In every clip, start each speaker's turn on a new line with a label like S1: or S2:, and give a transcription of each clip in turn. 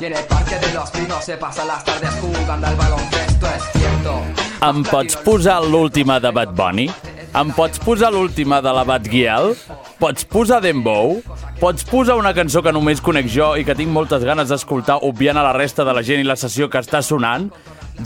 S1: Y en el parque de los pinos se pasan las tardes jugando al baloncesto, es cierto
S2: Ah,
S3: Em pots posar l'última de Bad Bunny? Em pots posar l'última de la Bad Guial? Pots posar Dembow? Pots posar una cançó que només conec jo i que tinc moltes ganes d'escoltar obviant a la resta de la gent i la sessió que està sonant?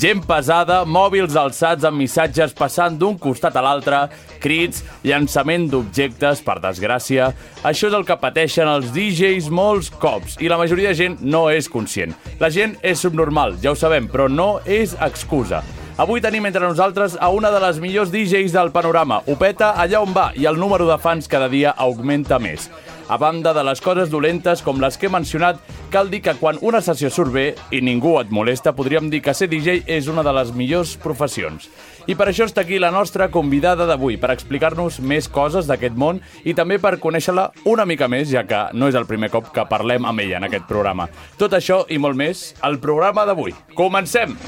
S3: Gent pesada, mòbils alçats amb missatges passant d'un costat a l'altre, crits, llançament d'objectes, per desgràcia... Això és el que pateixen els DJs molts cops i la majoria de gent no és conscient. La gent és subnormal, ja ho sabem, però no és excusa. Avui tenim entre nosaltres a una de les millors DJs del panorama. Ho peta allà on va i el número de fans cada dia augmenta més. A banda de les coses dolentes com les que he mencionat, cal dir que quan una sessió surt bé i ningú et molesta, podríem dir que ser DJ és una de les millors professions. I per això està aquí la nostra convidada d'avui, per explicar-nos més coses d'aquest món i també per conèixer-la una mica més, ja que no és el primer cop que parlem amb ella en aquest programa. Tot això i molt més al programa d'avui. Comencem!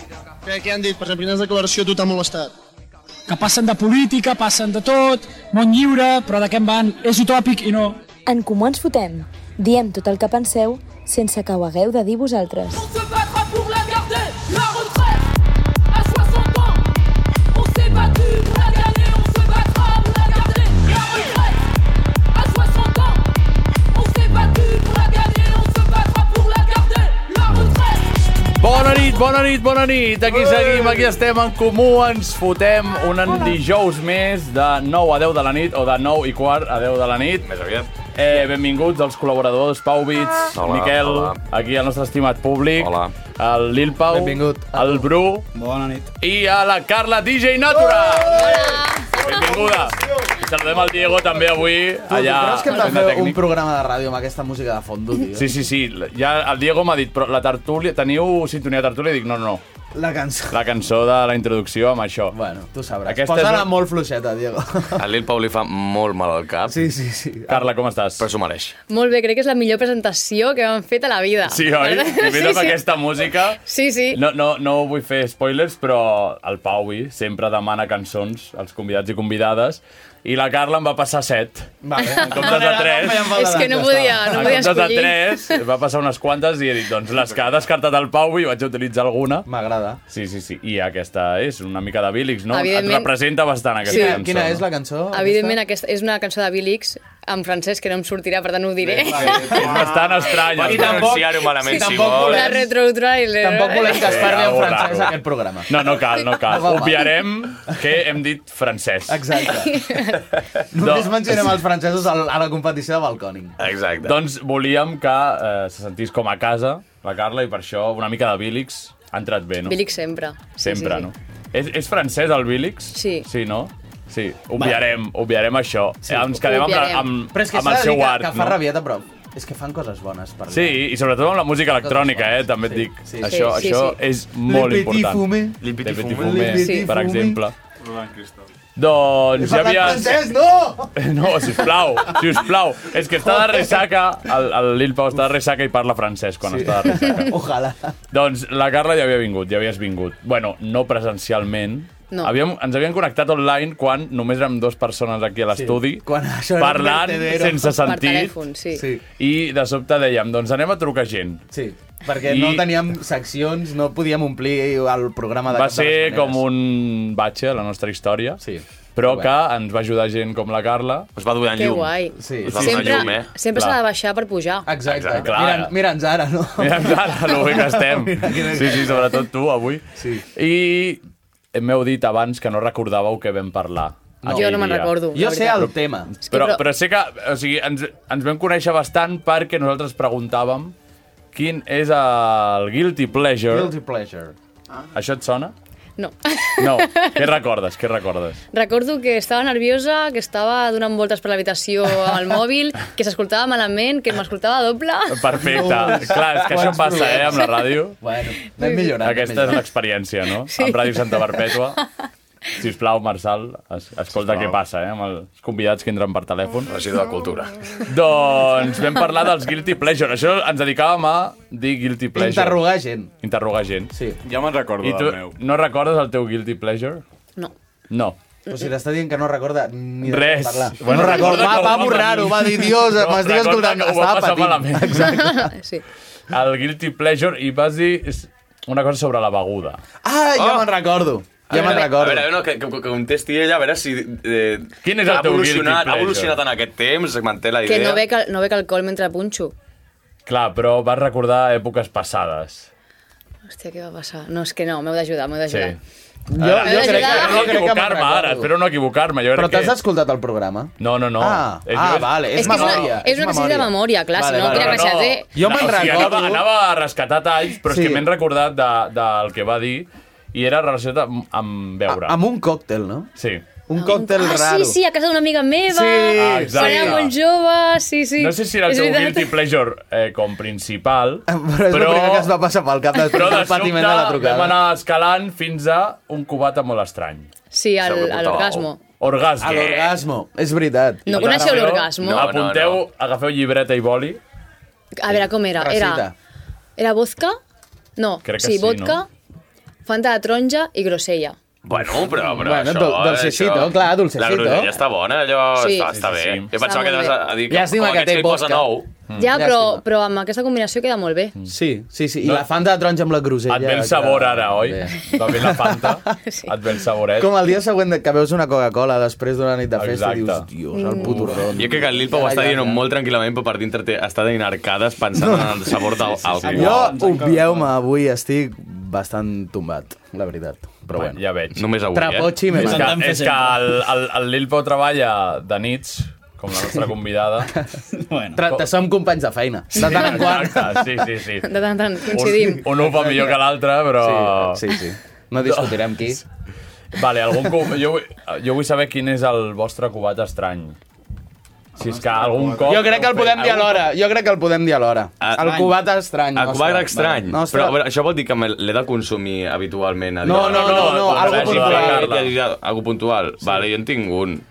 S4: Què, què han dit? Per exemple, quines declaració a tu t'ha molestat?
S5: que passen de política, passen de tot, món lliure, però de què en van? És utòpic i no.
S6: En Comú Ens Fotem. Diem tot el que penseu sense que ho hagueu de dir vosaltres.
S7: On se battra pour la garder, la retraite à 60 ans. On s'est battu pour la gagner, on se battra pour la garder, la retraite à 60 ans. On s'est battu pour la gagner, on se battra pour la garder, la retraite.
S3: Bona nit, bona nit, bona nit. Aquí seguim, aquí estem en comú, ens fotem un en dijous més de 9 a 10 de la nit, o de 9 i quart a 10 de la nit.
S8: Més aviat.
S3: Eh, benvinguts els col·laboradors, Pau
S2: Ah.
S3: Bits,
S8: Hola,
S3: Miquel,
S8: hola.
S3: aquí el nostre estimat públic,
S8: Hola.
S3: el Lil Pau,
S8: Benvingut.
S3: el Bru
S2: Bona nit.
S3: i a la Carla DJ Natura. Benvinguda. I Saludem al Diego també avui, allà.
S2: Creus que hem de
S3: fent de
S2: fer un
S3: tècnic.
S2: programa de ràdio amb aquesta música de fondo, tio?
S3: Sí, sí, sí. Ja el Diego m'ha dit, però la tertúlia, teniu sintonia de tertúlia? I dic, no, no, no.
S2: La cançó.
S3: La cançó de la introducció amb això.
S2: Bueno, tu sabràs.
S3: Aquesta
S2: Aquesta
S3: és
S2: Posa-la
S3: una-
S2: molt fluixeta, Diego.
S8: A Lil Pau li fa molt mal al cap, sí.
S2: Sí, sí, sí.
S3: Carla, com estàs?
S8: però s'ho mereix.
S9: Molt bé, crec que és la millor presentació que hem fet a la vida.
S3: Sí, oi? I més amb aquesta música...
S9: Sí, sí.
S3: No, no, no vull fer spoilers, però el Pauvi sempre demana cançons als convidats i convidades i la Carla em va passar set.
S2: Vale.
S3: En comptes de tres.
S9: És que no podia, no
S3: en
S9: podia
S3: comptes de
S9: escollir.
S3: tres, va passar unes quantes i he dit, doncs les que ha descartat el Pauvi vaig a utilitzar alguna.
S2: M'agrada.
S3: Sí, sí, sí. I aquesta és una mica de Bílix, no?
S9: Evidentment.
S3: Et representa bastant aquesta
S9: Sí.
S3: cançó.
S2: Quina
S3: no?
S2: és la cançó?
S9: Evidentment, aquesta és una cançó de Bilix en francès que no em sortirà, per tant ho diré.
S3: És bastant estranya.
S8: Pots pronunciar-ho malament,
S2: sí,
S8: si
S2: tampoc
S8: vols.
S9: La retrotrailer.
S2: Tampoc volem que es
S3: Sí,
S2: parli en
S3: algo
S2: francès
S3: raro.
S2: a aquest programa.
S3: No, no cal, no cal.
S2: No va mal.
S3: Obviarem que hem dit francès.
S2: Exacte. Només
S3: No.
S2: mencionem els francesos al- a la competició de balconing.
S8: Exacte.
S3: Doncs volíem que eh, se sentís com a casa, la Carla, i per això una mica de Bílix ha entrat bé, no?
S9: Bilix sempre. Sí,
S3: Sempre,
S9: sí, sí.
S3: no? És, és francès, el Bílix?
S9: Sí.
S3: Sí, no? Sí, obviarem, obviarem això. Sí, ens quedem amb, la,
S9: Obviarem.
S3: amb,
S2: Però és que
S3: amb
S2: s'ha
S3: el
S2: de dir
S3: seu
S2: que,
S3: art,
S2: que fa
S3: no?
S2: rabieta, però és que fan coses bones. Per
S3: Sí, i sobretot amb la música electrònica, eh? També et
S2: Sí,
S3: dic,
S2: sí, sí.
S3: això,
S9: Sí, sí,
S3: això
S9: sí.
S3: és molt important.
S2: Fumé.
S3: Le Petit
S8: Fumé.
S3: Fumé,
S2: Le Petit
S3: per
S2: Fumé.
S3: exemple. Doncs ja havia...
S2: francès, no!
S3: No, sisplau, sisplau. És que està de ressaca, el, el Lil Pau està de ressaca i parla francès quan sí. està de ressaca.
S2: Ojalà.
S3: Doncs la Carla ja havia vingut, ja havies vingut. Bueno, no presencialment.
S9: No.
S3: Havíem, ens havíem connectat online quan només érem dues persones aquí a l'estudi,
S2: Quan això era un
S3: parlant
S2: vertedero.
S3: sense
S9: Per
S3: sentit,
S9: telèfon, sí.
S2: Sí.
S3: i de sobte dèiem, doncs anem a trucar gent.
S2: Sí, perquè
S3: I-
S2: I... no teníem seccions, no podíem omplir el programa de
S3: Va
S2: cap de les
S3: ser
S2: maneres.
S3: com un batxe a la nostra història,
S2: Sí.
S3: però
S2: Bueno.
S3: que ens va ajudar gent com la Carla.
S8: Us va donant
S9: Que
S8: llum.
S9: guai.
S2: Sí.
S8: Us va donar
S9: Sempre,
S8: llum, eh?
S9: sempre s'ha
S3: Clar.
S9: de baixar per pujar.
S2: Exacte.
S3: Exacte.
S2: Exacte.
S3: Clar.
S2: Mira, mira'ns ara, no?
S3: Mira, clar, el bé que estem. Sí, sí, sobretot tu, avui.
S2: Sí.
S3: I m'heu dit abans que no recordàveu què vam parlar.
S9: No.
S3: aquell
S9: Jo no me'n
S3: dia.
S9: recordo.
S2: Ah, Jo
S9: la
S2: sé
S9: veritat.
S2: el tema.
S9: És que
S3: Però,
S9: però-
S3: però sé que o sigui, ens, ens vam conèixer bastant perquè nosaltres preguntàvem quin és el guilty pleasure.
S2: Guilty pleasure.
S3: Això et sona?
S9: No.
S3: No, què recordes, què recordes?
S9: Recordo que estava nerviosa, que estava donant voltes per l'habitació amb el mòbil, que s'escoltava malament, que m'escoltava doble.
S3: Perfecte. Clar, és que això em passa, eh, amb la ràdio.
S2: Bueno, anem millorant. anem
S3: Aquesta és
S2: millorant.
S3: l'experiència, no? Sí. Amb Ràdio Santa Perpètua. Sisplau, Marçal, es escolta
S8: Sisplau.
S3: què passa, eh, amb els convidats que entren per telèfon.
S8: Regidor de Cultura.
S3: Doncs vam parlar dels Guilty Pleasure. Això ens dedicàvem a dir Guilty Pleasure.
S2: Interrogar gent.
S3: Interrogar gent.
S2: Sí.
S10: Ja me'n recordo
S3: I tu
S10: del meu.
S3: no recordes el teu Guilty Pleasure?
S9: No.
S3: No.
S2: Però si t'està dient que no recorda ni de
S3: Res.
S2: què parlar.
S3: Bueno,
S2: no recorda,
S3: recorda
S2: va,
S3: que ho
S2: va
S3: va
S2: borrar-ho, va
S3: patir.
S2: dir, Dios,
S3: No,
S2: m'estic
S3: recorda
S2: escoltant,
S3: que ho va
S2: estava
S3: passar
S2: patint.
S3: malament.
S2: Exacte.
S9: Sí.
S3: El Guilty Pleasure i vas dir és una cosa sobre la beguda.
S2: Ah, ja me'n recordo.
S8: A
S2: Ja me'n
S8: veure,
S2: recordo.
S8: A veure, no, que, que, que contesti ella, a veure si... Eh,
S3: Quin és el
S8: ha
S3: teu guilty
S8: evolucionat,
S3: pleasure?
S8: Ha evolucionat en aquest temps, manté la idea.
S9: Que no bec, al- no bec alcohol mentre punxo.
S3: Clar, però vas recordar èpoques passades.
S9: Hòstia, què va passar? No, és que no, m'heu d'ajudar, m'heu
S3: Sí.
S9: d'ajudar.
S2: Jo,
S9: A veure, Gerard.
S3: Espero no
S2: me'n
S3: equivocar-me
S2: recordo.
S3: ara, espero no equivocar-me. Jo
S2: Però
S3: crec
S2: t'has
S3: que...
S2: escoltat el programa?
S3: No, no, no.
S2: Ah,
S3: És-
S2: ah
S3: jo-
S2: vale, és,
S9: És que és una-
S2: memòria.
S9: és un exercici de memòria, clar, si no,
S3: Però
S9: quina
S3: no.
S9: gràcia té.
S2: Jo me'n
S3: o sigui,
S2: recordo-
S3: Anava, anava a rescatar talls, però
S2: Sí.
S3: és que m'he recordat de, del que va dir i era relacionat amb, amb beure.
S2: Ah, Amb un còctel, no?
S3: Sí.
S2: Un còctel
S9: ah,
S2: raro.
S9: sí, sí, a casa d'una amiga
S2: Sí,
S9: meva,
S3: Ah,
S9: quan
S3: exacte.
S9: era molt jove, sí, sí.
S3: No sé si era el
S9: És
S3: teu
S9: veritat.
S3: guilty pleasure eh, com principal,
S2: Però és però... el primer que es va passar pel cap de,
S3: però de
S2: del
S3: sobte
S2: patiment de la trucada.
S3: vam anar escalant fins a un cubata molt estrany.
S9: Sí, al- a
S8: Sobrepuntava.
S9: l'orgasmo.
S3: Orgasmo.
S2: A l'orgasmo, és veritat.
S9: No coneixeu l'orgasmo?
S8: No, no,
S3: Apunteu,
S8: no.
S3: agafeu llibreta i boli.
S9: A veure, com era? Era, era vodka? No,
S3: Crec que sí,
S9: sí, vodka, Fanta de taronja i grosella.
S8: Bueno, però, però
S2: Bueno,
S8: això...
S2: dol- dolcecito,
S8: això-
S2: clar, dolcecito.
S8: La grosella està bona, allò
S9: Sí.
S8: està, està
S3: Sí, sí,
S8: bé.
S3: sí.
S8: Jo pensava
S9: Està
S8: que
S9: molt
S8: anaves a, a dir que
S2: Llàstima
S8: com
S2: que
S8: aquests
S2: té
S8: hi posa
S2: vodka.
S8: nou.
S9: ja, però,
S2: llàstima. Mm.
S9: però amb aquesta combinació queda molt bé.
S2: Sí, sí, sí. I la Fanta de taronja amb la grosella.
S3: Et ve el sabor ara, oi?
S2: Bé.
S3: Va bé la Fanta.
S9: Sí.
S3: Et ve el eh? saboret.
S2: Com el dia següent que veus una Coca-Cola després d'una nit de festa i dius,
S3: Exacte.
S2: dios, el puturón.
S8: Jo crec que el Lilpa ho
S2: Ja,
S8: està
S2: ja,
S8: dient
S2: ja.
S8: molt tranquil·lament, però per dintre té, està tenint arcades pensant en el sabor del alcohol.
S2: Jo, obvieu-me, avui estic bastant tombat, la veritat. Però
S3: Bueno,
S2: bueno,
S3: ja veig.
S8: Només avui, eh?
S2: trapotxi me
S3: És que,
S2: manca.
S3: és que el, el, el Lil Pau treballa de nits, com la nostra convidada.
S10: Bueno.
S2: Tra- te- Som companys de feina, de tant en quant.
S3: Exacte, sí, sí, sí.
S9: De tant en tant,
S3: Un,
S9: Doncs coincidim.
S3: un ho fa millor que l'altre, però...
S2: Sí, sí, sí. No discutirem qui.
S3: Vale, algun cop... Jo, vull- jo vull saber quin és el vostre cubat estrany. Si és que algun cop...
S2: Jo crec que el podem dir alhora, jo crec que el podem dir alhora.
S8: Ah,
S2: El
S8: estrany.
S2: cubat estrany.
S8: El
S2: nostre.
S8: cubata estrany.
S2: Nostre.
S8: Però, però això vol dir que me l'he de consumir habitualment. A
S2: No,
S8: dia
S2: no,
S8: d'avui.
S2: no, no,
S3: no,
S2: algo
S3: no,
S8: Vagi
S2: puntual.
S3: no,
S8: bé, que hi ha Algo puntual. Vale, jo en tinc un.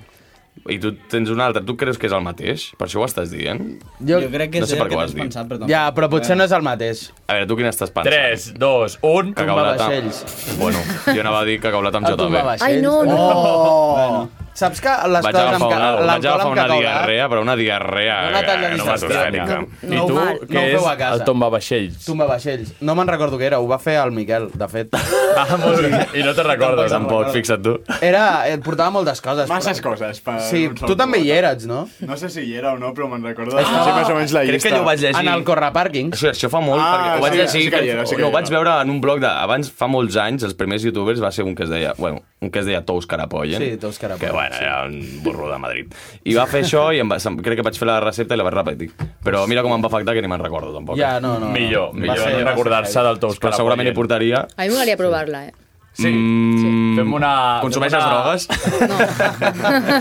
S8: I tu tens un altre. Tu creus que és el mateix? Per això ho estàs dient?
S10: Jo,
S2: Jo,
S10: jo crec que
S8: no
S10: no
S8: sé
S10: sé
S8: per
S10: el
S8: què
S10: que
S8: ho has
S10: t'has
S8: dit.
S10: pensat, però tampoc.
S2: Ja, però potser no és el mateix.
S8: A veure, tu quin estàs pensant?
S3: 3, 2, 1...
S8: Cacaulata.
S2: Vaixells.
S8: Bueno, jo anava a dir cacaulata amb
S2: El
S8: jota bé.
S2: tumbavaixells.
S9: Ai, no, no.
S2: Oh. Saps que les
S8: Vaig
S2: coses amb
S8: agafar una,
S2: ca-
S8: vaig
S2: l'alcohol
S8: agafar
S2: amb
S8: una
S9: eh?
S2: cacaulat...
S8: diarrea, però una diarrea...
S2: Una talla
S8: eh, no
S2: distància.
S8: m'assustava.
S3: I tu,
S2: Normal, no
S3: què
S2: ho feu a
S3: és
S2: casa.
S3: el tombavaixells?
S2: Tumba vaixells. No me'n recordo què era, ho va fer el Miquel, de fet.
S3: Ah, molt bé. I no te'n recordes,
S8: Tampoc, fixa't tu.
S2: Era, et portava moltes coses.
S10: Masses coses. Per
S2: Sí,
S10: un sol
S2: tu també hi
S10: cubata.
S2: eres, no?
S10: No sé si hi era o no, però me'n recordo. Ah, sí, més o menys la llista.
S8: Crec que jo ho vaig llegir.
S2: En el correpàrquing.
S8: Això, això fa molt,
S10: Ah,
S8: perquè ho vaig
S10: sí,
S8: llegir,
S10: sí que hi era, sí que
S8: no,
S10: hi
S8: ho vaig
S10: era.
S8: veure en un blog de... Abans, fa molts anys, els primers youtubers va ser un que es deia... Bueno, un que es deia Tous Carapollen.
S2: Sí, Tous Carapollen,
S8: Que, bueno, era un burro de Madrid. I va fer això i em va, se'm- crec que vaig fer la recepta i la vaig repetir. Però mira com em va afectar, que ni me'n recordo, tampoc. eh?
S2: Ja, no, no. no.
S3: Millor,
S2: Va
S3: millor
S2: ser-
S3: no
S2: va ser
S3: recordar-se
S2: heavy.
S3: del Tous
S8: Però segurament hi
S3: Carapollen.
S8: portaria...
S9: A mi m'agradaria provar-la, eh?
S3: Sí.
S8: Mm,
S3: Fem una-
S8: Consumeixes
S3: fem una-
S8: drogues?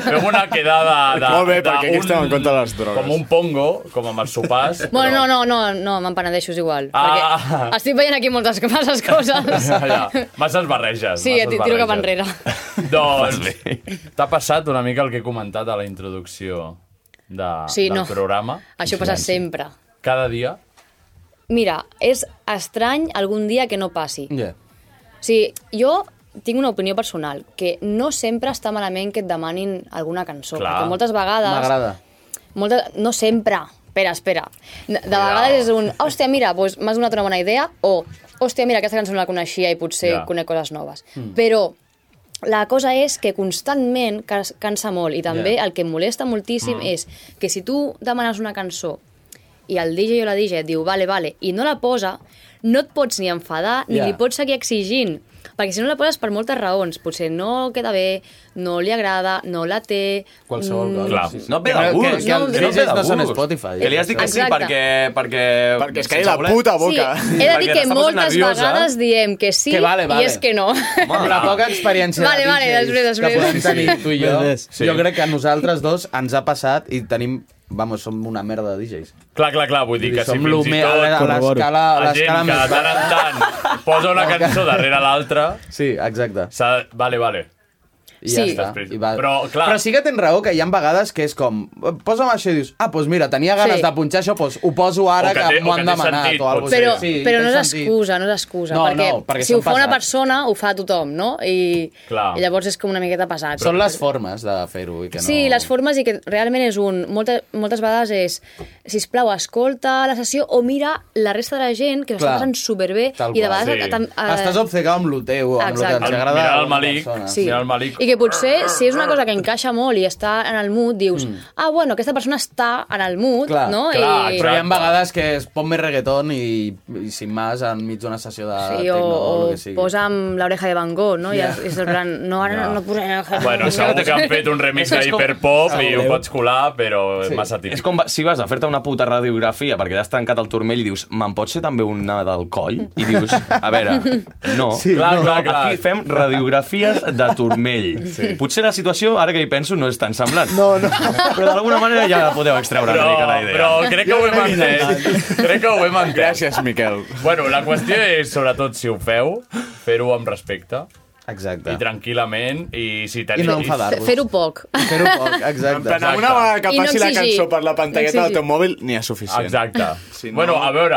S3: Fem una quedada de...
S10: Molt bé,
S3: de
S10: perquè aquí
S3: un-
S10: estem en contra de les drogues.
S3: Com un pongo, com amb els sopars.
S9: Bueno, no, no, no, no me'n penedeixo és igual.
S3: Ah.
S9: Perquè estic veient aquí moltes masses coses.
S3: Allà, masses barreges.
S9: Sí,
S3: masses
S9: et tiro cap
S3: barreges.
S9: enrere.
S8: Vas bé.
S3: Doncs, t'ha passat una mica el que he comentat a la introducció de,
S9: Sí,
S3: del
S9: no.
S3: programa?
S9: Això passa sempre.
S3: Cada dia?
S9: Mira, és estrany algun dia que no passi.
S2: Ja.
S9: O sigui, jo tinc una opinió personal, que no sempre està malament que et demanin alguna cançó,
S3: Clar.
S9: perquè moltes vegades...
S2: M'agrada.
S9: Moltes, no sempre. Espera, espera. De de vegades és un, hòstia, mira, doncs m'has donat una bona idea, o, hòstia, mira, aquesta cançó no la coneixia i potser
S3: Ja.
S9: conec coses noves. Però la cosa és que constantment cas- cansa molt i també el que em molesta moltíssim és que si tu demanes una cançó i el DJ o la DJ et diu vale, vale, i no la posa, no et pots ni enfadar ni
S11: Ja.
S9: li pots seguir exigint. Perquè si no la poses per moltes raons, potser no queda bé, no li agrada, no la té... mm,
S2: Qualsevol cosa.
S8: Clar.
S2: Sí, sí.
S8: No et ve
S2: Que
S8: de
S2: no-
S8: gust.
S2: que- que els
S8: et ve
S2: DJs
S8: de
S2: no són
S8: gust.
S2: Spotify.
S8: Que li has dit que sí
S9: Exacte.
S8: perquè... Perquè, perquè
S10: es cae la puta boca.
S9: Sí, he de dir
S8: Perquè
S9: que
S8: la estamos
S9: moltes
S8: nerviosa.
S9: vegades diem que sí
S2: Que vale, vale.
S9: i és que no.
S2: Home, la poca experiència
S9: Vale,
S2: de
S9: vale,
S2: DJs
S9: després, després.
S2: que podem tenir
S8: Sí.
S2: tu i jo,
S8: Sí.
S2: jo crec que a nosaltres dos ens ha passat i tenim... Vamos, som una merda de DJs.
S3: Clar, clar, clar, vull dir que si
S2: Som
S3: fins i
S2: l'humil-
S3: tot...
S2: a la- a l'escala- a
S3: La gent
S2: l'escala
S3: que de
S2: més
S3: tant en tant posa una
S2: No, que-
S3: cançó darrere l'altra...
S2: Sí, exacte.
S3: Vale, vale.
S2: I ja
S3: Sí.
S2: està. I va...
S3: Però, clar...
S2: Però sí que tens raó, que hi ha vegades que és com... eh, Posa'm això i dius, ah, doncs mira, tenia ganes
S9: Sí.
S2: de punxar això, doncs ho poso ara
S3: O que
S2: que,
S3: té-
S2: m'ho
S3: o que
S2: han
S3: té
S2: demanat
S3: sentit,
S2: o alguna cosa.
S9: Però,
S2: sí,
S9: però no
S2: té
S9: és
S2: sentit.
S9: excusa, no és excusa.
S2: No,
S9: perquè,
S2: no, perquè
S9: si ho
S2: són
S9: fa una
S2: pesats.
S9: persona, ho fa tothom, no? I,
S2: Clar.
S9: i llavors és com una miqueta pesat.
S2: Són les formes de fer-ho i que no...
S9: Sí, les formes i que realment és un... Moltes, moltes vegades és, si plau, escolta la sessió o mira la resta de la gent que ho està
S2: Clar.
S9: passant superbé
S2: Tal
S9: i de
S2: qual.
S9: vegades...
S2: Sí.
S9: tam- eh,
S2: Estàs obcecat amb lo teu, amb lo que
S9: Exacte.
S2: ens agrada.
S3: Mirar el
S2: a una
S3: Malik,
S2: persona.
S9: Sí. mirar el
S3: Malik.
S9: I que potser, si és una cosa que encaixa molt i està en el mood, dius,
S2: Mm.
S9: ah, bueno, aquesta persona està en el mood,
S2: Clar,
S9: no? I...
S2: però hi ha vegades que es pot més reggaeton i, i sin más enmig d'una sessió de
S9: Sí, o,
S2: tecno o, el que
S9: o
S2: sigui.
S9: posa'm l'oreja de Van Gogh, no?
S2: Ja.
S9: Yeah. I és el plan, no, ara no, no posaré l'oreja de
S3: Bueno,
S9: Van Gogh.
S3: segur que han fet un remix d'hiperpop i ho pots colar, però
S8: Sí.
S3: massa típic.
S8: És com va- si vas a fer-te una puta radiografia perquè t'has trencat el turmell i dius me'n pot ser també una del coll? I dius, a veure, no.
S3: Sí, Clar, no. clar, clar.
S8: Aquí fem radiografies de turmell.
S3: Sí.
S8: Potser la situació, ara que hi penso, no és tan semblant.
S2: No, no.
S8: Però d'alguna manera ja la podeu extreure
S3: Però-
S8: una mica la idea.
S3: però crec que ho hem entès. Crec que ho hem entès.
S10: Gràcies, Miquel.
S3: Bueno, la qüestió és, sobretot, si ho feu, fer-ho amb respecte.
S2: Exacte.
S3: I tranquil·lament, i si teniu...
S2: I no enfadar-vos.
S9: Fer-ho poc.
S2: Fer-ho poc, exacte.
S10: Tant, amb una vegada que
S9: I no
S10: passi la
S9: exigir.
S10: cançó per la
S9: No
S10: pantalleta del
S9: exigir.
S10: teu mòbil, n'hi ha suficient.
S3: Exacte.
S10: Si no-
S3: Bueno, a veure,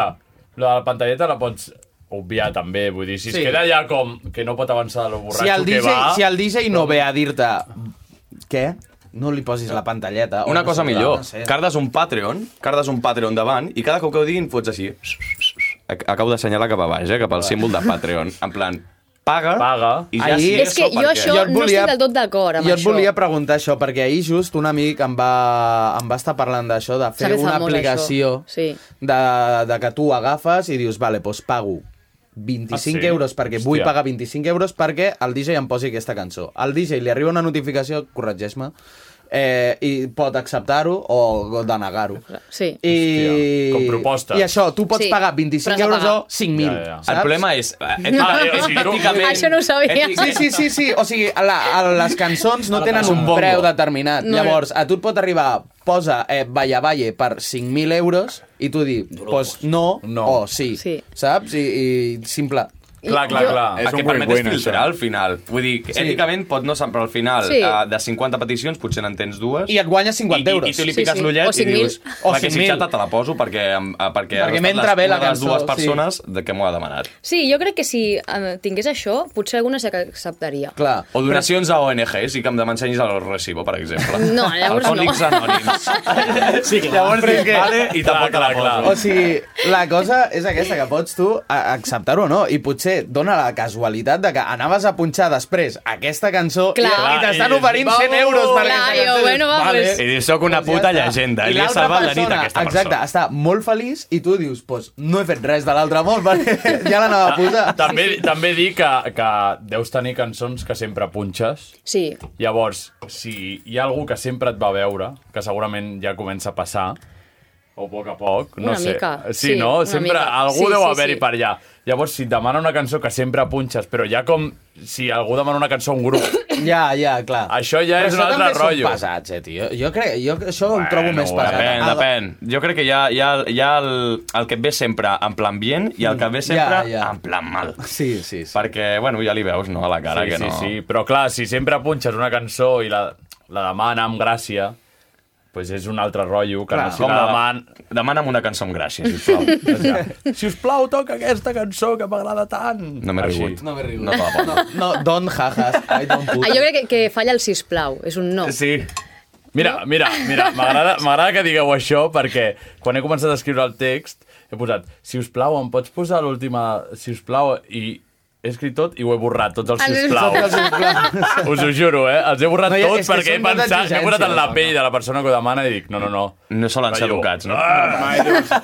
S3: la de la pantalleta la pots obviar també, vull dir, si es
S2: Sí.
S3: queda ja com que no pot avançar lo borratxo
S2: Si el,
S3: que
S2: DJ,
S3: va...
S2: si el DJ no ve a dir-te què, no li posis la pantalleta. o
S8: Una
S2: no
S8: cosa
S2: sé,
S8: millor,
S2: no sé.
S8: cardes un Patreon, cardes un Patreon davant i cada cop que ho diguin fots així. Ac- Acabo d'assenyalar cap a baix, eh, cap al símbol de Patreon. En plan, paga, paga. i ja sí,
S2: Ahir-
S9: És que jo això
S2: et
S9: no
S2: volia-
S9: estic del tot d'acord amb
S2: Jo et
S9: això.
S2: volia preguntar això, perquè ahir just un amic em va, em va estar parlant d'això, de
S9: S'ha
S2: fer
S9: fet
S2: una
S9: famós,
S2: aplicació
S9: això. Sí.
S2: de, de que tu agafes i dius, vale, doncs pago 25
S11: Ah, sí?
S2: euros perquè vull
S11: Hòstia.
S2: pagar 25 euros perquè el DJ em posi aquesta cançó. Al DJ li arriba una notificació, corregeix-me, eh, i pot acceptar-ho o denegar-ho.
S9: Sí.
S2: I...
S8: com propostes.
S2: I això, tu pots
S9: Sí,
S2: pagar
S9: però has
S2: 25
S9: de
S2: euros
S9: pagar.
S2: o 5.000,
S8: Ja, ja.
S2: saps?
S8: El problema és... eh, èticament-
S9: Això no ho sabia.
S2: Sí, sí, sí, sí. O sigui, la, a les cançons no tenen un
S8: bongo.
S2: preu determinat.
S9: No.
S2: Llavors, a tu et pot arribar, posa eh, Valla Valle per 5.000 euros i tu dir, pues no, no. o sí. sí. Saps? I, i simple.
S8: Clar, clar, clar. És el que permet és filtrar al final. Vull dir, que
S2: Sí.
S8: èticament pot no ser, però al final,
S2: Sí.
S8: sí. de 50 peticions, potser n'en tens dues.
S2: I et guanyes 50
S8: I-
S2: euros.
S8: I, i tu li piques
S2: Sí, sí.
S8: l'ullet
S2: O
S8: i
S2: 5.000.
S8: dius...
S2: O
S8: la que
S2: 5.000.
S8: xitxata te la poso perquè... em- eh, Perquè,
S2: Perquè
S8: han estat
S2: m'entra
S8: les-
S2: bé la
S8: una de les
S2: cançó,
S8: dues
S2: sí.
S8: persones de que m'ho ha demanat.
S9: Sí, jo crec que si eh, tingués això, potser alguna s'acceptaria.
S2: Clar.
S8: O donacions a ONGs i que em m'ensenyis el recibo, per exemple.
S9: No, llavors no.
S8: Alcohòlics Anònims.
S2: Sí,
S8: clar. Llavors dius, vale, i tampoc te la poso.
S2: O sigui, la cosa és aquesta, que pots tu a- acceptar-ho o no, i potser dona la casualitat de que anaves a punxar després aquesta cançó
S9: Clar.
S2: i, i t'estan
S9: Clar, i-
S2: oferint 100 euros per
S9: Clar,
S2: aquesta
S9: jo,
S2: cançó.
S9: bueno, va,
S2: Vale.
S9: pues.
S8: I dius, soc una puta llegenda.
S2: I
S8: Li he
S2: l'altra
S8: salvat la nit
S2: persona,
S8: a aquesta
S2: exacte,
S8: persona.
S2: està molt feliç i tu dius, pues, no he fet res de l'altre món, perquè ja l'anava a posar.
S3: També, també dic que, que deus tenir cançons que sempre punxes.
S9: Sí.
S3: Llavors, si hi ha algú que sempre et va veure, que segurament ja comença a passar, o a poc a poc, no
S9: Una
S3: sé.
S9: mica,
S3: Sí,
S9: sí,
S3: no?
S9: una
S3: Sempre
S9: mica.
S3: algú
S9: Sí,
S3: deu
S9: sí,
S3: haver-hi
S9: sí.
S3: per allà. Llavors, si et demana una cançó que sempre punxes, però ja com si algú demana una cançó a un grup...
S2: Ja, ja, clar.
S3: Això ja
S2: Però
S3: és
S2: això
S3: un altre
S2: també són
S3: rotllo.
S2: pesats, eh, tio. Jo crec, jo això ho trobo més pesat.
S8: Depèn,
S2: Ah,
S8: depèn. Jo crec que hi ha, hi ha, hi ha el, el que et ve sempre en plan bien i el que et ve sempre
S2: Ja,
S8: ja,
S2: ja.
S8: ja. en plan mal.
S2: Sí, sí, sí.
S8: Perquè, bueno, ja li veus, no?, a la cara
S3: sí,
S8: que
S3: sí,
S8: no...
S3: sí, però clar, si sempre punxes una cançó i la, la demana amb gràcia, doncs és un altre rotllo que clar,
S8: Clar.
S3: no si
S8: Com
S3: la
S8: la-
S3: deman...
S8: Demana'm una cançó amb gràcia, sisplau.
S3: Si us plau, toca aquesta cançó que m'agrada tant.
S8: No m'he
S3: Així.
S8: rigut.
S2: No m'he rigut.
S8: No te la poso.
S2: No, no, don jajas, I don't put.
S9: Ah, jo crec que, que falla el sisplau, és un no.
S3: Sí. Mira, mira, mira, m'agrada m'agrada que digueu això perquè quan he començat a escriure el text he posat, si us plau, em pots posar l'última, si us plau, i He escrit tot i ho he borrat, tots els
S9: Ens hem
S3: sisplau.
S9: borrat els
S3: Us ho juro, eh? Els he borrat no,
S8: No, i
S3: tots
S8: és que
S3: perquè he
S8: són molt
S3: pensat, m'he posat en la
S8: d'exigència.
S3: pell de la persona que ho demana i dic, no, no, no.
S8: No solen ser
S3: Ballo.
S8: educats, no?
S3: Ah!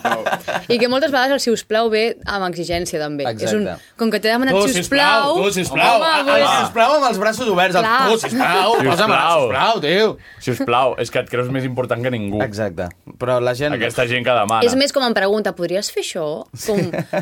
S9: I que moltes vegades el sisplau ve amb exigència, també.
S8: Exacte.
S9: És un, com que t'he demanat
S2: Tu,
S9: sisplau...
S2: sisplau, tu, sisplau. Ah,
S9: Home,
S2: ah,
S9: ah,
S2: sisplau, amb els braços oberts. El,
S9: Clar.
S2: tu, sisplau,
S3: Sisplau.
S2: posa'm el sisplau, tio.
S3: Sisplau, és que et creus més important que ningú.
S2: Exacte. Però la gent...
S3: Aquesta gent que
S9: ah,
S3: demana.
S9: és més com em pregunta, podries fer això? Com...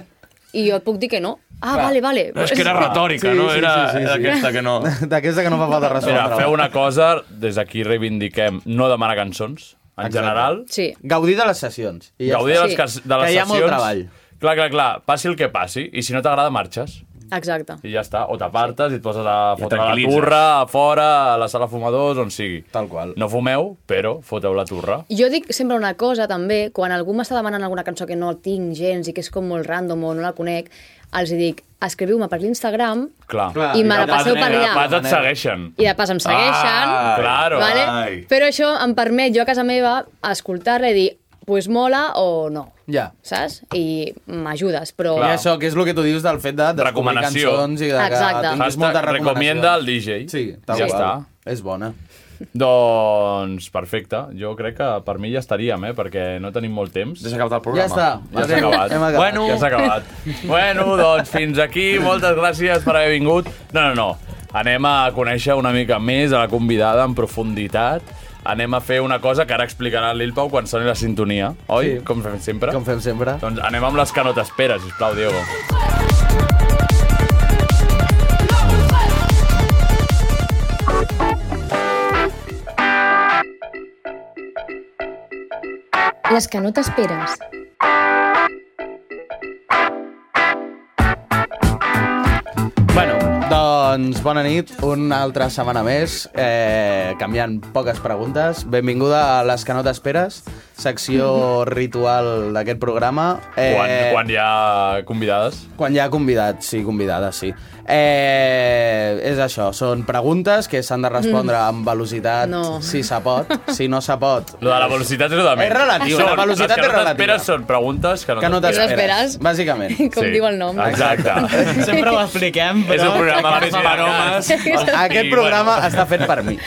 S9: I jo et puc dir que no. Ah,
S3: Clar.
S9: vale, vale.
S3: No, és que era retòrica, no? Era d'aquesta que no.
S2: D'aquesta que no fa falta resoldre.
S3: Mira, feu una cosa, des d'aquí reivindiquem no demanar cançons, en Exacte. general.
S9: Sí.
S2: Gaudir de les sessions. I ja
S3: Gaudir de
S2: està.
S3: les, cas- de les
S2: que hi ha
S3: sessions.
S2: molt treball.
S3: Clar, clar, clar, passi el que passi, i si no t'agrada marxes,
S9: Exacte.
S3: i ja està, o t'apartes i et poses a
S8: I
S3: fotre la
S8: tranquil·litzes.
S3: turra a fora, a la sala de fumadors, on sigui. Tal qual. No fumeu, però foteu la turra.
S9: Jo dic sempre una cosa, també, quan algú m'està demanant alguna cançó que no tinc gens i que és com molt random o no la conec, els hi dic, escriviu-me per l'Instagram
S3: Clar.
S9: Clar, I me la passeu per allà.
S3: Pas et segueixen.
S9: i de pas em segueixen.
S3: Ah, claro.
S9: vale?
S3: Ai.
S9: Però això em permet jo a casa meva escoltar-la i dir, pues mola o no,
S2: Ja.
S9: saps? I m'ajudes, però...
S2: I això, que és el que tu dius del fet de descobrir
S3: Recomanació.
S2: cançons i de que
S9: Exacte.
S2: tinguis molta
S3: Hashtag
S2: recomanació.
S3: recomienda el DJ.
S2: Sí, tal
S3: ja
S2: qual.
S3: està.
S2: És bona.
S3: Doncs perfecte. Jo crec que per mi ja estaríem, eh? perquè no tenim molt temps. Ja s'ha acabat el
S2: programa. Ja està.
S3: Ja s'ha
S2: Hem-
S3: acabat.
S2: hem acabat.
S3: Bueno, ja s'ha acabat. bueno, doncs fins aquí. Moltes gràcies per haver vingut. No, no, no. Anem a conèixer una mica més a la convidada en profunditat. Anem a fer una cosa que ara explicarà l'Il Pau quan soni la sintonia, oi?
S2: Sí.
S3: Com fem sempre?
S2: Com fem sempre.
S3: Doncs anem amb les que no t'esperes, sisplau, Diego.
S11: Les que no t'esperes.
S2: Bueno, doncs bona nit, una altra setmana més, eh, canviant poques preguntes. Benvinguda a Les que no t'esperes, secció ritual d'aquest programa. Eh,
S3: Quan, quan hi ha convidades.
S2: Quan hi ha convidats, sí, convidades, sí. Eh, és això, són preguntes que s'han de respondre
S3: Mm.
S2: amb velocitat,
S3: No.
S2: si se pot, si no se pot.
S3: Lo de la velocitat és lo de menys.
S2: És relatiu,
S3: Són-
S2: la
S3: les
S2: velocitat
S3: que
S2: és
S3: no
S2: relativa.
S3: t'esperes són preguntes que no,
S2: Que no t'esperes, bàsicament.
S9: Com diu el nom.
S3: Exacte.
S12: Sempre ho expliquem, però...
S3: És un programa per panomes.
S2: Aquest programa està fet per mi.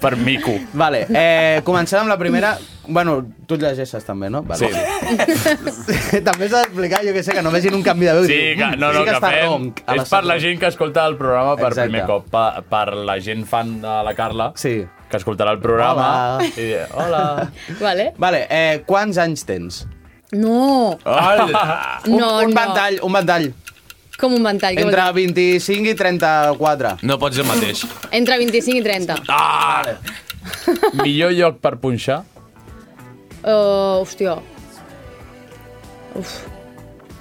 S3: Per mico.
S2: Vale, eh, començarem amb la primera. Bueno, tu et llegeixes també, no? Vale. Sí. també s'ha d'explicar, jo que sé, que no vegin un canvi de veu.
S3: Sí,
S2: i diu,
S3: que,
S2: "Mm,
S3: no, no,
S2: sí que,
S3: que,
S2: està
S3: fem...
S2: ronc. a
S3: És per la gent que escolta el programa per
S2: Exacte.
S3: primer cop, per, per la gent fan de la Carla, sí. que escoltarà el programa.
S2: Hola.
S3: I, dirà, hola.
S9: Vale.
S2: Vale, eh, quants anys tens?
S9: No,
S2: Hola. Un,
S9: No,
S2: un
S9: no.
S2: ventall, un ventall.
S9: com un ventall. que
S2: Entre 25 i 34.
S8: No pots el mateix.
S9: vol dir? Entre 25 i 30.
S3: Ah! Millor lloc per punxar?
S9: Uh, hòstia. Uf,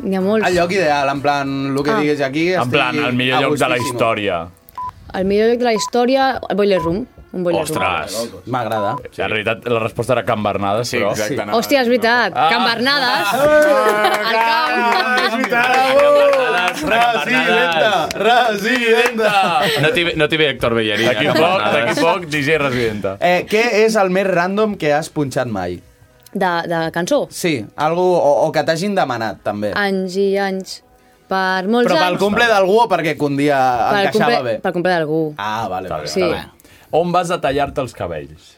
S9: n'hi ha molts.
S2: El lloc ideal, en plan, el que
S9: Ah.
S2: diguis aquí...
S3: En plan, el millor lloc de la història.
S9: El millor lloc de la història, el Boiler Room. Un boiler
S3: Ostres.
S2: M'agrada.
S3: Sí, en realitat, la resposta era Can Bernades, sí, però...
S9: Room. Hòstia, és veritat.
S3: Ah.
S9: Can Bernades.
S2: Ah,
S9: Al camp.
S2: És veritat.
S9: Ah,
S8: Residenta!
S2: Residenta!
S8: No t'hi ve, no t'hi ve Héctor
S9: eh,
S8: Bellerina.
S3: D'aquí poc, d'aquí poc, DJ Residenta.
S2: Eh, què és el més random que has punxat mai?
S9: De, de cançó?
S2: Sí, algú, o, o que t'hagin demanat, també.
S9: Anys i anys. Per molts
S2: Però
S9: anys.
S2: pel cumple d'algú o perquè un dia
S9: doncs- Pel
S2: encaixava
S9: cumple-
S2: bé?
S9: Pel cumple d'algú.
S2: Ah, vale.
S3: Està bé,
S9: Sí.
S3: està bé. On vas a tallar-te els cabells?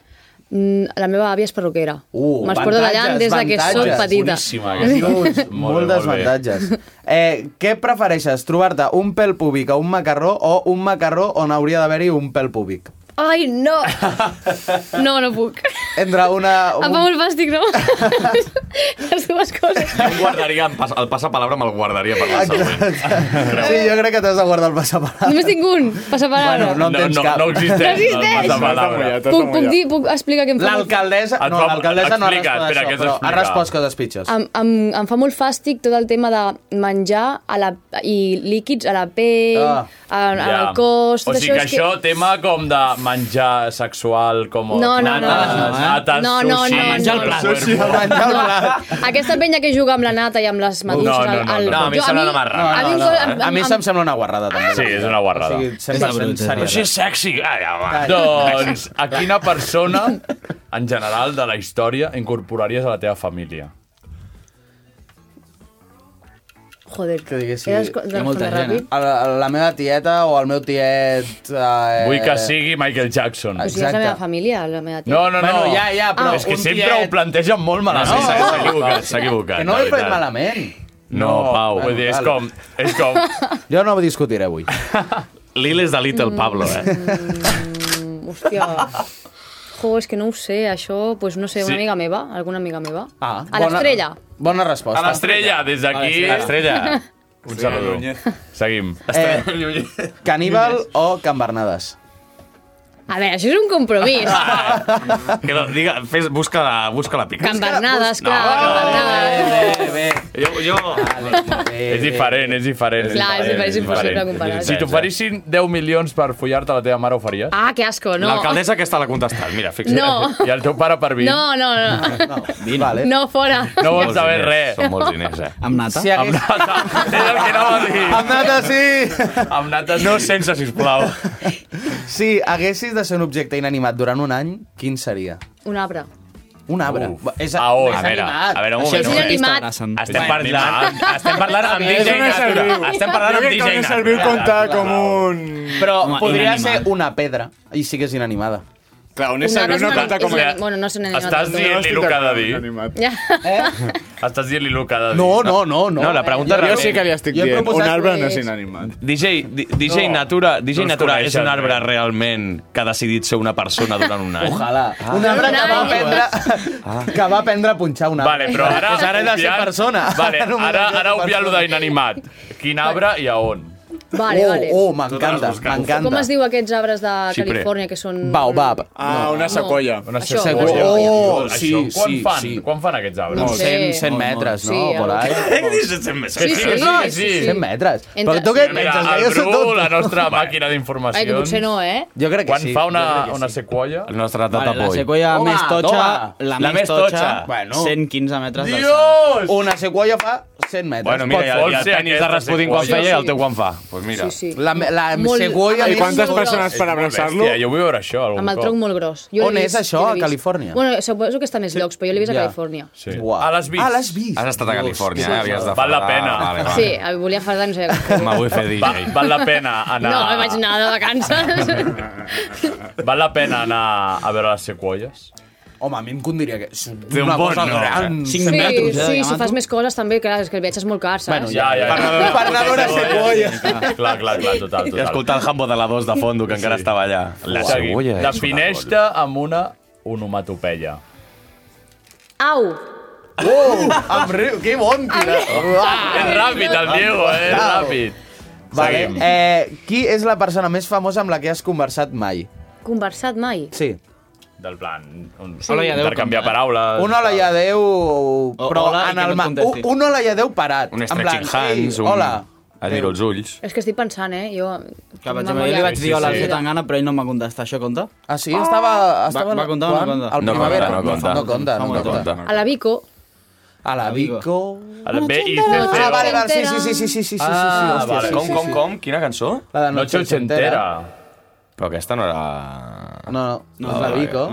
S9: Mm, La meva àvia és perruquera.
S2: Uh,
S9: Me'ls porto tallant des de que soc
S2: avantatges.
S9: petita.
S3: Boníssima,
S2: Molts,
S3: aquesta. Molt bé,
S2: molts
S3: molt bé.
S2: desavantatges. Eh, què prefereixes, trobar-te un pèl púbic a un macarró o un macarró on hauria d'haver-hi un pèl púbic?
S9: Ai, no! No, no puc.
S2: Entre una...
S9: Em fa molt fàstic, no? Les dues coses.
S8: Jo em guardaria el, pas, el passapalabra me'l guardaria per la següent.
S2: Sí, jo crec que t'has de guardar el passapalabra.
S9: Només tinc un, passa per ara.
S2: Bueno, no en tens cap.
S9: No existeix. Puc, puc, dir, puc explicar què em fa molt
S2: L'alcaldessa...
S3: Et
S2: No,
S3: fa-
S2: l'alcaldessa no ha
S3: explica,
S2: respost
S3: espera,
S2: això,
S3: que has
S2: però ha
S3: d'explicar.
S2: respost coses pitjors.
S9: em, em, em fa molt fàstic tot el tema de menjar a la, i líquids a la pell,
S3: Ah,
S9: ah, a, a
S3: Ja.
S9: al cos... Tot
S3: o sigui
S9: això
S3: que
S9: és
S3: això, tema com de menjar sexual, com
S9: No, no, no.
S3: nanes, nates,
S9: No, no,
S3: sushi...
S9: no, no. Menjar el plat.
S3: Sushi,
S2: menjar el
S9: Aquesta penya que juga amb la nata i amb les meduses...
S2: No, no, no,
S9: al- al-
S2: no, a mi
S9: Jo-
S2: em sembla una marrana.
S9: A mi,
S2: No,
S9: em
S2: no,
S9: sol-
S2: no. A mi se'm sembla una guarrada, també.
S3: Sí, és una guarrada.
S2: O sigui, 100%
S3: Però
S2: serietat.
S3: això és sexy. Ah, ja, va.
S2: Calla.
S3: Doncs, a quina persona, en general, de la història, incorporaries a la teva família?
S9: Joder,
S2: que diguéssim...
S9: eres co- Hi ha molta tan gent, ràpid. eh?
S2: La, la meva tieta o el meu tiet... Eh...
S3: Vull que sigui Michael Jackson.
S9: O sigui, és la meva família, la meva tia.
S3: No, no, no.
S2: Bueno, ja, ja, però
S3: És que
S2: un
S3: sempre
S2: tiet-
S3: ho plantegen molt malament. No,
S2: No, sí,
S3: s'ha
S2: sí,
S3: s'ha
S2: sí.
S3: equivocat, s'ha equivocat.
S2: Que no ho he
S3: la
S2: fet
S3: veritat.
S2: malament.
S3: No, Pau, vull dir, és
S2: vale.
S3: com... És com...
S2: Jo no ho discutiré avui.
S3: Lil és de Little Pablo, eh?
S9: mm, Hòstia. Jo, és que no ho sé, això, doncs no sé, una
S3: Sí.
S9: amiga meva, alguna amiga meva.
S2: Ah,
S9: A l'estrella.
S2: Bona resposta.
S3: A l'estrella, des d'aquí...
S2: A l'estrella.
S3: Un saludo. Seguim.
S2: Eh, caníbal o Can Bernades?
S9: A veure, això és un compromís.
S3: Ah. Que no, diga, fes, busca la, busca la pica.
S9: Can Bernades, clar,
S3: No,
S9: Can Bernades.
S3: Jo, jo...
S9: Ah,
S3: és diferent, és diferent.
S9: Clar, és diferent, és impossible comparar.
S3: Si t'oferissin 10 milions per follar-te la teva mare, ho faries?
S9: Ah, que asco, no.
S3: L'alcaldessa aquesta l'ha contestat, mira, fixa't.
S9: No.
S3: I el teu pare per vint.
S9: No, no, no.
S3: Vint. Vale.
S9: No, fora.
S3: No vols saber
S10: diners,
S3: res.
S10: són molts
S3: diners, eh?
S10: Amb nata?
S2: Si hagués... Amb Amb nata, sí!
S3: Amb nata, no sense, sisplau.
S2: Si haguessis de ser un objecte inanimat durant un any, quin seria?
S9: Un arbre.
S2: Un arbre. Uf, és, a,
S3: on?
S2: és
S3: A veure,
S2: animat.
S3: a veure, un
S2: Això
S3: moment,
S2: és
S3: un moment.
S2: animat.
S3: Estem parlant, estem parlant amb
S2: És
S3: DJ
S2: una
S3: Natura.
S2: serviu.
S3: Estem parlant amb
S2: Jo crec que
S3: DJ
S2: una
S3: Natura.
S2: serviu compta com
S10: un...
S2: Però
S10: Home,
S2: podria
S10: inanimat.
S2: ser una pedra i sí que és inanimada.
S10: Clar,
S9: Un arbre és una- és una- Bueno, no és un animal.
S3: Estàs dient-li el que ha de dir.
S9: Ja.
S3: Estàs dient-li el que ha de dir.
S2: No, no, no. no.
S8: No, la pregunta
S10: Jo
S8: realment-
S10: sí que li estic
S2: Jo he
S10: dient.
S2: proposat
S10: Un arbre
S2: que
S10: no
S2: és-
S10: és inanimat.
S8: DJ, di- DJ
S3: No.
S8: Natura, DJ
S3: No els
S8: Natura és
S3: coneixen,
S8: un arbre
S3: eh?
S8: realment que ha decidit ser una persona durant un any.
S2: Ojalà. Ah. Un arbre que va
S9: Ah.
S2: aprendre,
S8: Ah.
S2: que va aprendre a punxar un arbre.
S3: Vale, però ara...
S2: Pues ara he de ser
S3: obviant-
S2: persona.
S3: Vale,
S2: no
S3: ara, ara
S2: m'he de ser
S3: obviant lo
S2: persona.
S3: d'inanimat. Quin arbre i a on?
S9: Vale, vale.
S2: Oh, oh m'encanta, m'encanta.
S9: Com es diu aquests arbres de
S3: Xiprer.
S9: Califòrnia que són...
S2: Baobab.
S10: Ah, una sequoia.
S3: Una
S9: Això.
S3: sequoia.
S2: Oh,
S3: Això,
S2: sí,
S3: quan
S2: sí,
S3: fan?
S2: sí.
S3: Quan fan aquests arbres?
S9: No sé.
S2: 100, 100 metres, no?
S9: Sí,
S2: Sí, Por ahí.
S8: Què dices? Em sembla-
S3: Que sí, que sí, que sí.
S9: sí, sí.
S2: 100 metres.
S9: Entre-
S2: Però tu què et
S3: Mira,
S2: penses? Que
S3: el
S2: jo soc
S3: Bru,
S2: tot...
S3: la nostra màquina d'informacions...
S9: Ai, que potser no, eh?
S2: Jo crec que
S3: Quan
S2: sí.
S3: fa una, una sequoia...
S8: El nostre
S12: Vale, la
S8: tatapoi.
S12: sequoia
S2: Home,
S12: més totxa,
S2: toma.
S12: la,
S8: La més
S12: més totxa,
S8: totxa.
S2: Bueno.
S12: 115 metres d'alçada.
S3: Dios!
S2: Una sequoia fa 100 metres.
S8: Bueno, mira, i
S2: Pot-
S8: el, i
S3: Pot
S8: el
S3: ser
S8: penis de
S3: aquesta
S8: Rasputin quan
S3: seqüència.
S8: feia i el teu quan fa. Pues mira.
S9: Sí, sí.
S2: La, la
S9: Molt- Ah,
S2: sequoia...
S9: I
S2: més
S9: quantes
S2: totxa.
S9: persones
S10: per abraçar-lo?
S3: Hòstia, jo vull veure això algun
S9: Amb el
S3: cop.
S9: tronc molt gros. Jo l'he
S2: On és
S9: vist,
S2: això,
S9: jo l'he
S2: a
S9: vist.
S2: Califòrnia?
S9: Bueno, suposo que està més llocs, però jo l'he vist a
S2: Ja.
S9: Califòrnia.
S3: Sí.
S2: Uau.
S3: Ah, l'has vist?
S2: Ah, l'has vist?
S8: Has estat a Califòrnia,
S2: sí,
S8: eh?
S2: sí.
S8: Havies de
S3: Val la
S8: fardar.
S3: pena.
S8: Vale, vale.
S9: Sí, eh, volia fardar, no sé què.
S8: Me vull fer DJ.
S3: Va, val la pena anar...
S9: No, em vaig anar de vacances.
S3: Val la pena anar a veure les sequoies?
S2: Home, a mi em condiria que... És
S8: Té un
S2: una
S8: bon
S2: cosa
S8: nom,
S2: gran.
S8: eh?
S12: Cinc
S9: Sí,
S12: metres, eh,
S9: sí,
S12: de
S9: si fas
S12: diamant.
S9: més coses també, clar, és que el viatge és molt car, saps?
S2: Bueno,
S3: Ja, ja, ja.
S2: Per anar a veure sequoies.
S3: Clar, clar, clar, total,
S8: I
S3: total.
S8: escoltar el Hambo de la 2 de fondo, que encara estava allà. La eh? cebolla és
S3: Defineix-te amb una onomatopeia.
S9: Au!
S2: Oh, em riu, que bon, tira.
S9: Ah.
S3: És ràpid, el Diego, eh? És ràpid.
S2: Vale,
S3: Seguim.
S2: eh, qui és la persona més famosa amb la que has conversat mai?
S9: Conversat mai.
S2: Sí.
S3: Del plan... Un,
S12: Sí. Hola i adéu,
S3: intercanviar
S12: com-
S3: paraules.
S2: Un hola i adeu, però
S12: hola i
S2: en
S12: que
S2: el
S12: no et
S2: ma-
S12: contesti.
S2: un, un hola i adeu parat.
S8: Un
S2: en
S8: stretching
S2: plan,
S8: hands,
S2: sí,
S8: un...
S2: Hola.
S8: Et miro els ulls.
S9: És que estic pensant, eh? Jo...
S12: Que vaig, jo
S9: memòria-
S12: li vaig
S3: Sí, sí,
S12: dir hola,
S3: sí.
S12: sí, tan gana, però ell no em va contestar. Això compta?
S2: Ah, sí? Estava... estava
S12: va contar o no
S2: quan?
S12: conta?
S2: Al
S8: No
S2: primavera.
S8: conta, no conta.
S2: No conta, no
S12: No
S2: conta.
S8: conta.
S9: A la Vico.
S2: A la Vico...
S3: Ara, B i C, C.
S2: Ah,
S9: Ochentera.
S2: vale, vale, sí, sí, sí, sí, sí, sí, sí, sí, sí, hòstia,
S3: vale.
S2: sí,
S8: Com,
S2: sí,
S8: com,
S2: sí.
S8: com? Quina cançó?
S2: La de
S3: Noche
S2: Noche
S3: ochentera.
S2: Ochentera.
S8: Però aquesta no era... Ah,
S2: No, no, no, és la
S8: vale.
S2: Vico.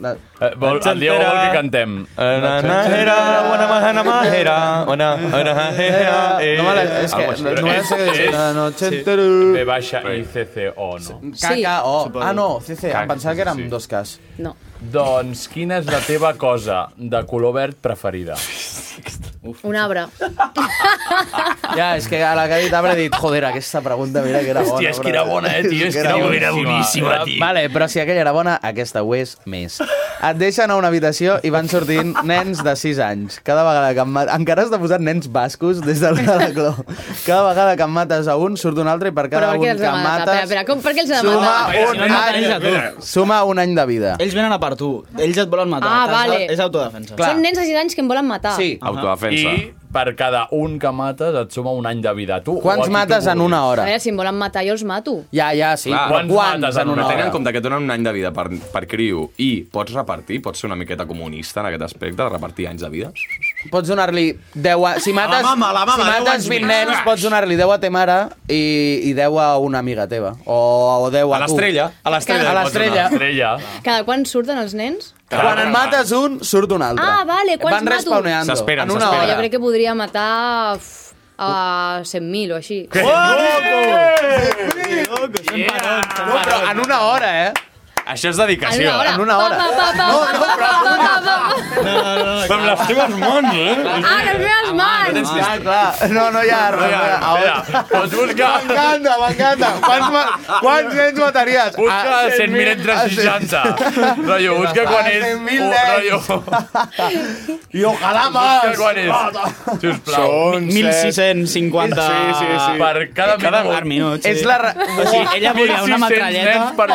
S2: La...
S3: Eh, vol, el Diego vol que cantem.
S2: Eh,
S8: Anahera, bona mahana mahera, bona anahera, eh.
S2: No me la... És que
S3: Ah,
S8: Algo així.
S2: no, no me la sé
S3: És-
S2: dir.
S3: Eh, és-
S2: La Noche
S3: B
S2: Ochentera...
S3: baixa i C, C, O, no.
S9: Sí.
S2: KKO. Ah, no, CC, em pensava que
S3: sí.
S2: érem dos cas.
S9: No.
S3: Doncs quina és la teva cosa de color verd preferida?
S9: Un arbre.
S2: Ja, és que a la que ha dit Abra he dit, joder, aquesta pregunta, mira que era bona.
S3: Hòstia, és que era
S2: brother."
S3: bona, eh, tio, és que era boníssima, tio.
S2: Vale, però si aquella era bona, aquesta ho és més. Et deixen a una habitació i van sortint nens de 6 anys. Cada vegada que en mat... Encara has de posar nens bascos des del Galacló. Cada vegada que en mates a un, surt un altre i per
S9: Però
S2: cada
S9: per
S2: un
S9: què
S2: que
S9: els ha de matar?
S2: mates...
S9: Espera, espera, com, per què els ha de
S2: Suma
S9: matar?
S12: Espera,
S2: un,
S12: espera, espera,
S2: any,
S12: espera.
S2: suma un any de vida.
S12: Ells venen a per tu. Ells et volen matar.
S9: Ah,
S12: T'has de-
S9: vale.
S12: És autodefensa. Ah.
S2: Clar.
S9: Són nens de 6 anys que em volen matar.
S2: Sí.
S8: Autodefensa.
S3: I per cada un que mates et suma un any de vida. Tu, o a
S2: Quants
S3: qui tu
S2: mates en
S3: vulguis.
S2: una
S9: A
S2: hora?
S9: veure, si em volen matar, jo els mato.
S2: Ja, ja, sí.
S8: Clar,
S2: però
S3: quants mates
S2: quants
S3: en
S2: en
S3: una
S2: una
S8: Però tenint en
S2: hora?
S8: compte que et donen un any de vida per, per criu i pots repartir, pots ser una miqueta comunista en aquest aspecte, de repartir anys de vida.
S2: Pots donar-li 10 a... Si mates,
S12: mama, a la mama, 10
S2: si mates
S12: anys
S2: 20
S12: més.
S2: nens, pots donar-li 10 a te mare i, i 10 a una amiga teva. O, o 10 a,
S8: A l'estrella.
S2: tu.
S8: A l'estrella.
S2: A l'estrella.
S3: Estrella.
S9: Cada quan surten els nens?
S2: Quan en mates un, surt un altre.
S9: Ah, vale, quants
S2: Van
S9: mato? Ah,
S2: respawneando.
S8: S'esperen,
S2: en una
S8: s'esperen.
S9: Jo
S2: hora.
S9: crec que podria matar... uf, a 100.000 o així.
S3: Que
S2: No, però en una hora, eh?
S8: Això és dedicació.
S2: En una hora.
S9: No,
S2: no, no, no, Amb les teves mans, eh?
S9: Ah, les meves mans!
S2: Ah, clar. No, no hi ha res. No hi ha
S3: Pots buscar...
S2: M'encanta, m'encanta. Quants, ma- quants nens mataries? Ah,
S3: Busca 100.000 entre 60. Rotllo, busca quan és...
S2: 100.000
S3: un-
S2: nens.
S3: rotllo,
S2: I ojalà
S3: Busca
S2: més.
S3: quan és. Sisplau.
S12: Són 1.650
S3: Sí, sí, sí. Per cada minut.
S12: Per minut, sí.
S2: És la re-
S12: O sigui, ella volia una
S3: 1.600
S12: metralleta...
S3: nens per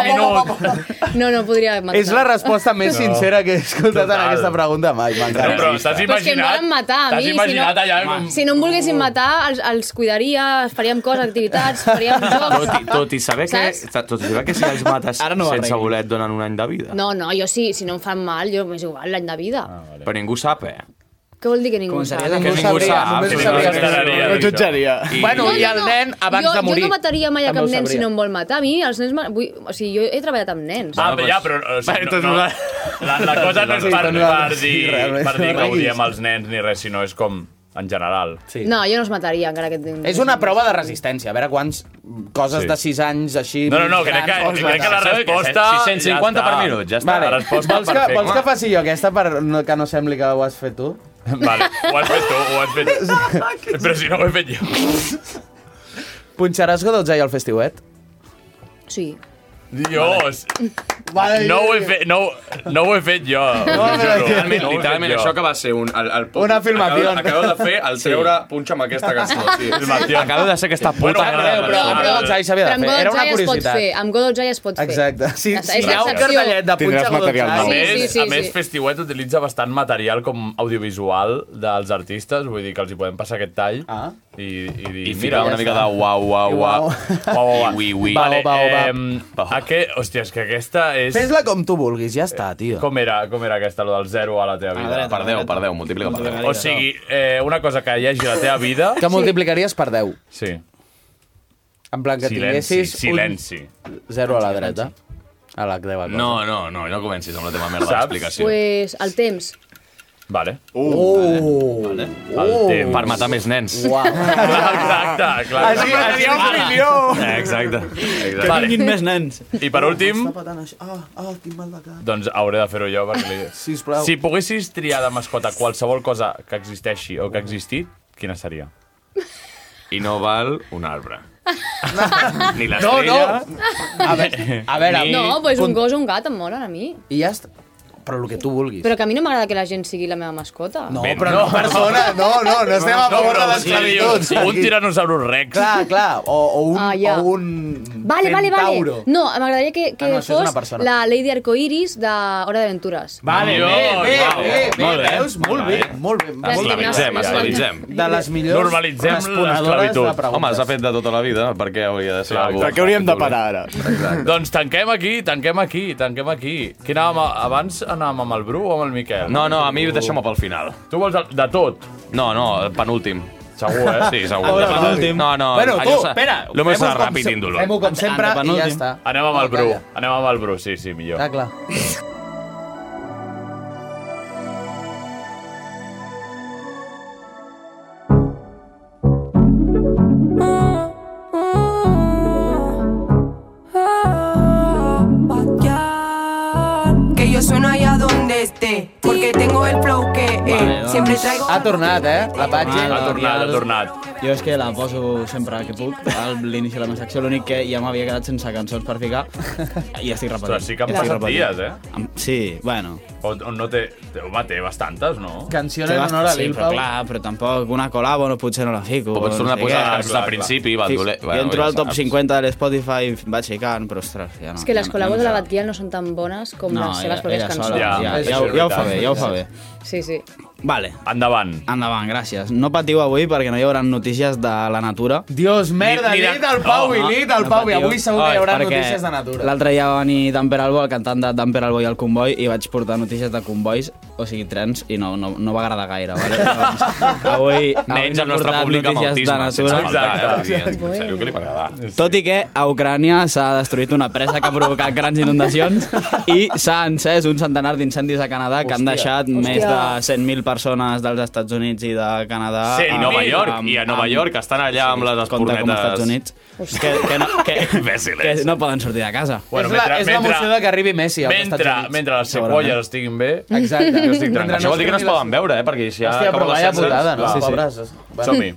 S3: minut.
S9: No, no podria matar.
S2: És la resposta més
S3: No.
S2: sincera que he escoltat en aquesta pregunta mai.
S3: No,
S2: M'encanta.
S3: però t'has
S9: Però és que em
S3: imaginat...
S9: volen matar a
S3: t'has
S9: mi.
S3: imaginat
S9: si no,
S3: allà com-
S9: Si no em volguessin matar, els, els cuidaria, faríem coses, activitats, faríem jocs...
S8: Tot i, tot i saber que, tot i saber que si els mates
S12: Ara no ho
S8: sense
S12: arreglis.
S8: voler et donen un any de vida.
S9: No, no, jo sí, si no em fan mal, jo m'és igual, l'any de vida.
S8: Però ningú sap, eh?
S9: Què vol dir que ningú
S8: seria
S9: sap?
S8: de Que ningú ningú sabria, sap, només que ho ningú sabria. s'enteraria
S10: No
S8: d'això.
S10: jutjaria.
S8: I-
S2: Bueno, i el nen abans
S9: jo,
S2: de morir.
S9: Jo no mataria mai a
S2: També
S9: cap
S2: ho
S9: nen si
S2: sabria.
S9: no em vol matar. A mi, els nens... m'ha- Vull, o sigui, jo he treballat amb nens.
S3: Ah, però ja, però... O
S8: Va,
S3: sigui,
S8: entonces
S3: no, no.
S8: nosaltres-
S3: La, la cosa no és
S8: Sí,
S3: per,
S8: doncs
S3: per,
S8: nosaltres-
S3: dir,
S8: sí, realment.
S3: per dir que
S8: No
S3: ho diem als nens ni res, sinó és com en general. Sí.
S9: No, jo no els mataria, encara que... tinc-
S2: És una prova de resistència. A veure quants coses
S3: Sí.
S2: de 6 anys així...
S3: No, no, no, crec que,
S2: grans,
S3: crec que la
S2: grans.
S3: resposta... ja
S8: 650
S3: està.
S8: per minut, ja està.
S2: Vale.
S3: La resposta
S2: vols, que,
S3: perfecta.
S2: vols que faci jo aquesta per no, que no sembli que ho has fet tu?
S3: Vale, ho has fet tu, ho has fet... Però si no ho he fet jo.
S2: Punxaràs Godotza i el festiuet?
S9: Sí.
S3: Dios!
S2: Vale,
S3: No ho he fet, no, no ho he fet jo.
S8: No,
S3: us
S8: però-
S3: juro. No ho
S8: Literalment,
S3: he fet
S8: literalment,
S3: jo.
S8: això que va ser un... El, el,
S2: Una filmació.
S8: Acabeu, acabeu de fer el treure sí. punxa amb aquesta cançó. Sí.
S3: Filmació.
S8: Acabeu de ser aquesta puta.
S3: Bueno,
S8: merda.
S3: però- però-
S2: Amb Godotza i s'havia
S9: Però
S2: de
S9: amb
S2: fer. Era una
S9: Godotza ja es pot
S2: curiositat.
S9: fer. Amb Godotza ja es pot fer.
S2: Exacte. Sí,
S9: Ja està,
S2: sí,
S9: és
S2: hi ha un
S9: l'excepció.
S2: cartellet de
S10: Tindràs
S2: punxa
S10: material
S2: Godotza.
S3: A
S10: nou.
S3: més,
S9: sí, sí,
S3: a
S9: sí.
S3: més Festiuet utilitza bastant material com audiovisual dels artistes, vull dir que els hi podem passar aquest tall
S2: Ah.
S3: i, i dir,
S8: I
S3: mira,
S8: fica una mica de uau, uau, uau.
S3: Uau, uau, uau.
S8: Ui, ui.
S3: Vale,
S2: Bao, bao, bao.
S3: ehm, aqu- hòstia, és que aquesta és...
S2: Fes-la com tu vulguis, ja està, tio.
S3: Com era, com era aquesta, lo del zero a la teva vida?
S8: Per 10, per 10, multiplica per 10.
S3: O sigui, eh, una cosa que hi hagi a la teva vida...
S2: Que multiplicaries per 10.
S3: Sí,
S2: En plan, que
S3: silenci,
S2: tinguessis
S3: silenci.
S2: un 0 a la dreta. A la 10 a la
S8: No, no, no, no comencis amb la teva merda
S3: Saps?
S8: d'explicació.
S9: Pues el temps.
S3: Vale.
S8: Uh.
S2: Oh!
S3: El temps.
S8: Per matar més nens.
S2: Uau.
S3: Exacte, clar.
S2: Així, així, un milió.
S8: Eh, Exacte.
S12: Que
S8: Exacte.
S3: Vale.
S12: tinguin més nens.
S3: I per últim,
S2: Ah, ah, tinc mal de cap.
S3: doncs hauré de fer-ho jo perquè li...
S2: Sisplau.
S3: Si poguessis triar de mascota qualsevol cosa que existeixi o que ha existit, quina seria?
S8: I no val un arbre. Ni
S2: No, no.
S8: l'estrella.
S2: A veure, a veure.
S9: No, doncs pues un gos o un gat em molen a mi.
S2: I ja està. Però el que tu vulguis.
S9: Però que a mi no m'agrada que la gent sigui la meva mascota.
S2: No,
S3: Ben,
S2: però
S3: no.
S2: no, persona, no, no, no estem a favor de
S3: però si dius,
S2: l'esclavitud.
S3: un tiranosaurus rex.
S2: Clar, clar, o, o un...
S9: Ah, ja.
S2: o un
S9: Vale, vale, vale.
S2: centauro.
S9: No, m'agradaria que, que
S2: Ah, no, això és una
S9: fos
S2: persona.
S9: la Lady Arcoiris de Hora d'Aventures.
S2: Vale,
S3: Dios,
S2: bé, bé,
S3: wow.
S2: bé, bé,
S8: Molt bé.
S2: veus? Molt bé, molt bé. molt
S9: Gràcies,
S2: bé.
S8: Esclavitzem,
S9: gràcies.
S8: esclavitzem.
S2: De les millors
S3: Normalitzem
S2: responedores
S3: l'esclavitud.
S2: de preguntes.
S8: Home, s'ha fet de tota la vida, per què hauria de ser
S3: Clar,
S8: algú?
S10: Per què hauríem de parar ara?
S3: Doncs tanquem aquí, tanquem aquí, tanquem aquí. Qui anàvem a... Abans anàvem amb el Bru o amb el Miquel?
S8: No, no, a mi deixem-ho pel final.
S3: Tu vols el... de tot?
S8: No, no, el penúltim.
S3: Segur, eh?
S8: Sí, segur.
S12: Ahora, penúltim.
S8: No, no,
S2: Bueno, tu,
S8: allò s'ha-
S2: espera.
S8: Lo més
S2: fem-ho com
S8: ràpid
S2: se-
S8: índolo.
S2: Fem-ho com sempre i ja
S12: Antepenúltim.
S2: està.
S3: Anem amb
S2: No,
S3: el Bru.
S2: calla.
S3: Anem amb el Bru, sí, sí, millor.
S2: Ah, clar.
S13: Que yo sueno allá donde esté, porque tengo el flow que eh,
S12: Vale,
S13: siempre
S12: doncs.
S13: traigo.
S2: Ha tornat, eh? La Patxi.
S3: Ha tornat, ha tornat.
S12: Jo és que la poso sempre que puc, a l'inici de la meva secció, l'únic que ja m'havia quedat sense cançons per ficar i estic repetint.
S3: Ostres, sí que han
S12: Estic
S3: passat
S12: repetint.
S3: dies, eh?
S12: Em- Sí, bueno.
S3: On, on no té... té- Home, té bastantes, no?
S2: Canció en honor a
S12: sí,
S2: Lil
S12: però
S2: Pau.
S12: clar, però tampoc una col·labo no, potser no la fico.
S8: Ho pots
S12: no
S8: tornar a
S12: sé
S8: posar
S12: què.
S8: les cançons
S3: clar,
S8: al principi, va,
S12: Fix,
S8: doler.
S12: jo entro al top 50 de l'Spotify i vaig ficant, però ostres, ja no.
S9: És que
S12: ja
S9: les
S12: no-
S9: col·labos
S12: ja
S9: de
S12: no
S9: la
S12: sé.
S9: Batguial no són tan bones com
S12: no,
S9: les seves pròpies
S12: ella
S9: cançons.
S12: Sola,
S3: Ja,
S12: ja, ja,
S3: això és
S12: ja, ho fa
S3: veritat.
S12: bé, ja ho fa bé.
S9: Sí, sí.
S12: Vale,
S3: Endavant.
S12: endavant, gràcies. No patiu avui perquè no hi haurà notícies de la natura.
S2: Dios, merda,
S3: Ni-
S2: ni,
S3: ni de-
S2: del Pau i
S12: No,
S2: nit del
S12: no
S2: Pau. I
S12: patiu.
S2: avui segur que hi haurà
S12: Perquè
S2: notícies de natura.
S12: L'altre dia va venir Dan Peralbo, el cantant de Dan Peralbo i el Comboi, i vaig portar notícies de convois, o sigui, trens, i no, no, no va agradar gaire. Vale? Doncs, avui, avui
S8: Menys
S12: no
S8: el
S12: he
S8: nostre
S12: portat
S8: públic amb
S12: notícies de
S8: autisme. eh?
S12: natura.
S14: eh?
S8: Exacte. En sèrio, què li va agradar?
S12: Tot i que a Ucrània s'ha destruït una presa que ha provocat grans inundacions i s'ha encès un centenar d'incendis a Canadà que han deixat més de 100.000 persones
S2: persones dels Estats Units i de Canadà...
S14: Sí, i Nova York, i a Nova York estan allà amb les
S2: compte com
S14: espornetes.
S2: als Estats Units. Que, que, no, que, que no poden sortir de casa.
S3: Bueno, És la- mentre- és la mentre- moció
S8: de que arribi Messi
S2: als
S3: mentre-
S2: Estats Units.
S3: mentre les cebolles estiguin bé,
S8: Exacte.
S3: jo estic
S8: Mentre
S3: tranquil.
S8: no
S3: Això vol dir que no es
S8: estigui
S3: poden veure, eh? Perquè si hi ha...
S8: Hòstia,
S3: com
S8: però
S3: les
S8: vaya
S3: setze-
S8: putada, no?
S3: Clar.
S8: Pobres. Bueno.
S3: Som-hi.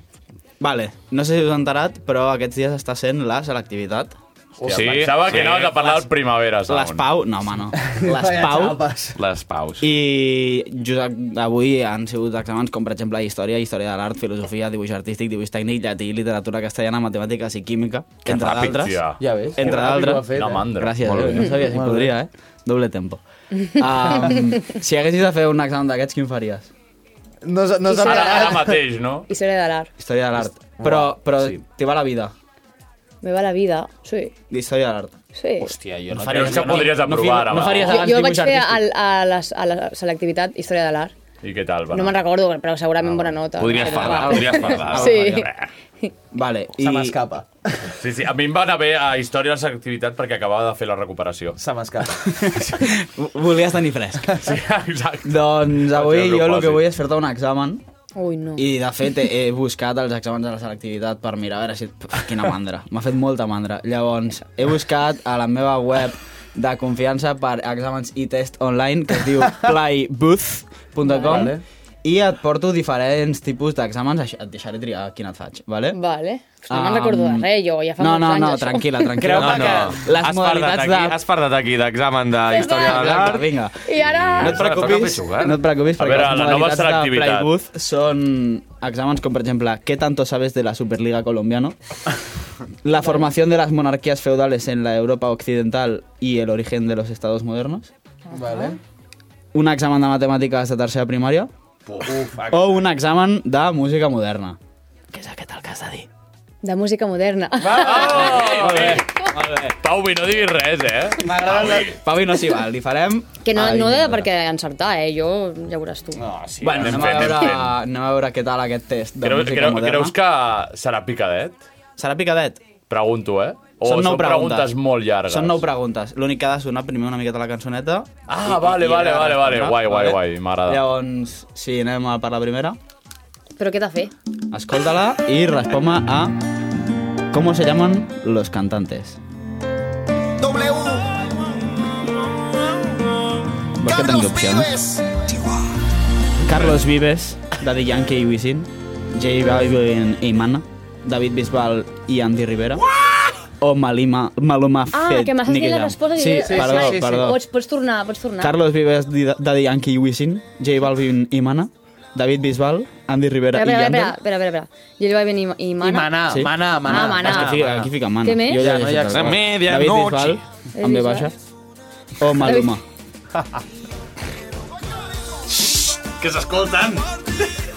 S2: Vale, no sé si us heu enterat, però aquests dies està sent la selectivitat.
S3: Hòstia, Sí? pensava que anaves a parlar del Primavera Sound.
S2: Les Pau, no, home, no. Les
S3: Vaya
S2: Pau.
S8: xapes.
S14: Les Paus.
S2: I just avui han sigut exàmens com, per exemple, Història, Història de l'Art, Filosofia, Dibuix Artístic, Dibuix Tècnic, Llatí, Literatura Castellana, Matemàtiques i Química,
S3: Que
S2: entre
S3: ràpid,
S2: d'altres.
S3: tia. Ja ves, que
S2: Entre
S3: ràpid ho ha
S2: d'altres.
S3: fet, eh? Una mandra.
S2: Gràcies,
S3: Molt
S2: Déu,
S3: bé.
S2: no sabia si
S3: Molt bé.
S2: podria, eh? Doble tempo. Um, si haguessis de fer un examen d'aquests, quin faries?
S8: No, us- no us
S3: Ara, ara
S8: agradat.
S3: mateix, no?
S9: I seré de l'art.
S2: Història de l'art. Però, però sí. t'hi va la vida,
S9: Me va la vida, sí.
S2: d'història de l'art.
S9: Sí.
S2: Hòstia,
S3: jo no faria- jo no- no fi- no
S2: No,
S3: faries
S2: faries
S9: Jo,
S2: abans
S9: jo vaig fer a, a, la, a la selectivitat Història de l'Art.
S3: I què tal,
S9: No me'n recordo, però
S12: Ah,
S9: segurament bona nota.
S3: Podries
S9: Però
S3: parlar,
S9: va.
S3: podries parlar.
S9: Sí.
S2: Vale,
S3: i-
S8: Se m'escapa.
S3: Sí, sí, a mi em va anar bé a Història de la Selectivitat perquè acabava de fer la recuperació.
S8: Se m'escapa.
S2: Volies tenir fresc.
S3: Sí, exacte.
S2: Doncs avui
S3: Vaig al
S2: jo el que
S3: propòsit.
S2: vull és fer-te un examen
S9: Ui, no.
S2: i de fet he, he buscat els exàmens de la selectivitat per mirar a veure si... Pff, Quina mandra, m'ha fet molta mandra. Llavors, he buscat a la meva web de confiança per exàmens i test online que es diu playbooth.com
S9: Vale.
S2: i et porto diferents tipus d'exàmens, Això- et deixaré triar quin et faig, vale?
S9: Vale. Pues no me'n
S12: Ah,
S2: Um,
S9: recordo
S12: mm.
S9: de res, jo. Ja fa
S2: no,
S9: molts
S2: no,
S9: anys,
S2: no,
S9: això.
S2: tranquil·la, tranquil·la.
S14: No, no.
S2: Les
S14: Has
S2: modalitats
S14: fardat aquí-
S2: de-
S14: Has fardat aquí d'examen de
S9: Fes
S14: història de
S9: va.
S14: l'art.
S2: Vinga.
S9: I ara...
S2: No et preocupis, no et preocupis
S14: A
S2: perquè
S14: veure,
S2: les
S14: la nova
S2: modalitats de
S14: selectivitat.
S2: Playbooth són exàmens com, per exemple, ¿qué tanto sabes de la Superliga colombiana? La formación de las monarquías feudales en la Europa occidental y el origen de los estados modernos.
S8: Vale.
S2: Un examen de matemàtiques de tercera primària.
S8: Uf,
S2: O un examen de música moderna.
S9: De música moderna.
S3: Molt bé, molt bé. Pau, vi, no diguis res, eh?
S2: M'agrada... Pavi no s'hi val, li farem...
S9: Que no,
S2: Ai,
S9: no de per què encertar, eh? Jo, ja veuràs tu. No,
S2: Sí, bueno,
S3: anem
S2: anem, a
S3: fent, anem
S2: veure,
S3: fent.
S2: anem a veure què tal aquest test de
S3: Creu,
S2: música
S3: creu,
S2: moderna.
S3: creus que serà picadet?
S2: Serà picadet?
S3: Pregunto, eh? O
S2: Són nou
S3: preguntes. molt llargues.
S2: Són nou preguntes. L'únic que ha de sonar primer una miqueta la cançoneta.
S3: Ah, vale, vale, vale, vale. Guai, guai, guai, m'agrada.
S2: Llavors, sí, anem a per la primera.
S9: Però què t'ha fet?
S2: Escolta-la i respon-me a... ¿Cómo se llaman los cantantes?
S15: W.
S2: Vols que et doni opcions? Carlos Vives, Daddy Yankee i Wisin, J Balvin i Mana, David Bisbal i Andy Rivera, o Malima, Maluma
S9: Ah,
S2: Fett,
S9: que m'has
S2: Nicky
S9: dit la
S2: Jam.
S9: resposta. i
S2: Sí,
S9: diré-
S2: perdó,
S9: Vale,
S2: perdó.
S9: Pots, pots tornar, pots tornar.
S2: Carlos Vives, Di- Daddy Yankee i Wisin, J Balvin i Mana, David Bisbal, Andy Rivera
S9: Espera,
S2: i
S9: espera,
S2: Yandel.
S9: espera, espera, espera, espera. I ell va venir i mana.
S2: Sí.
S9: Ah, mana.
S2: És que fica, aquí fica mana.
S9: Què més?
S2: Jo ja
S9: Ja,
S2: he
S9: no,
S2: llegit
S9: ja
S2: el
S9: està.
S2: quart.
S9: Media
S2: David
S9: noche.
S2: Bisbal,
S9: He
S2: amb B
S9: vist,
S2: baixa. O Maluma.
S3: Que s'escolten!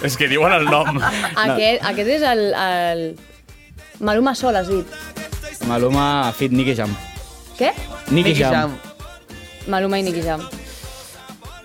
S3: És que diuen el nom.
S9: Aquest, aquest és el... el... Maluma Sol, has dit.
S2: Maluma, Fit, Nicky Jam.
S9: Què?
S2: Nicky Jam.
S9: Maluma i Nicky Jam.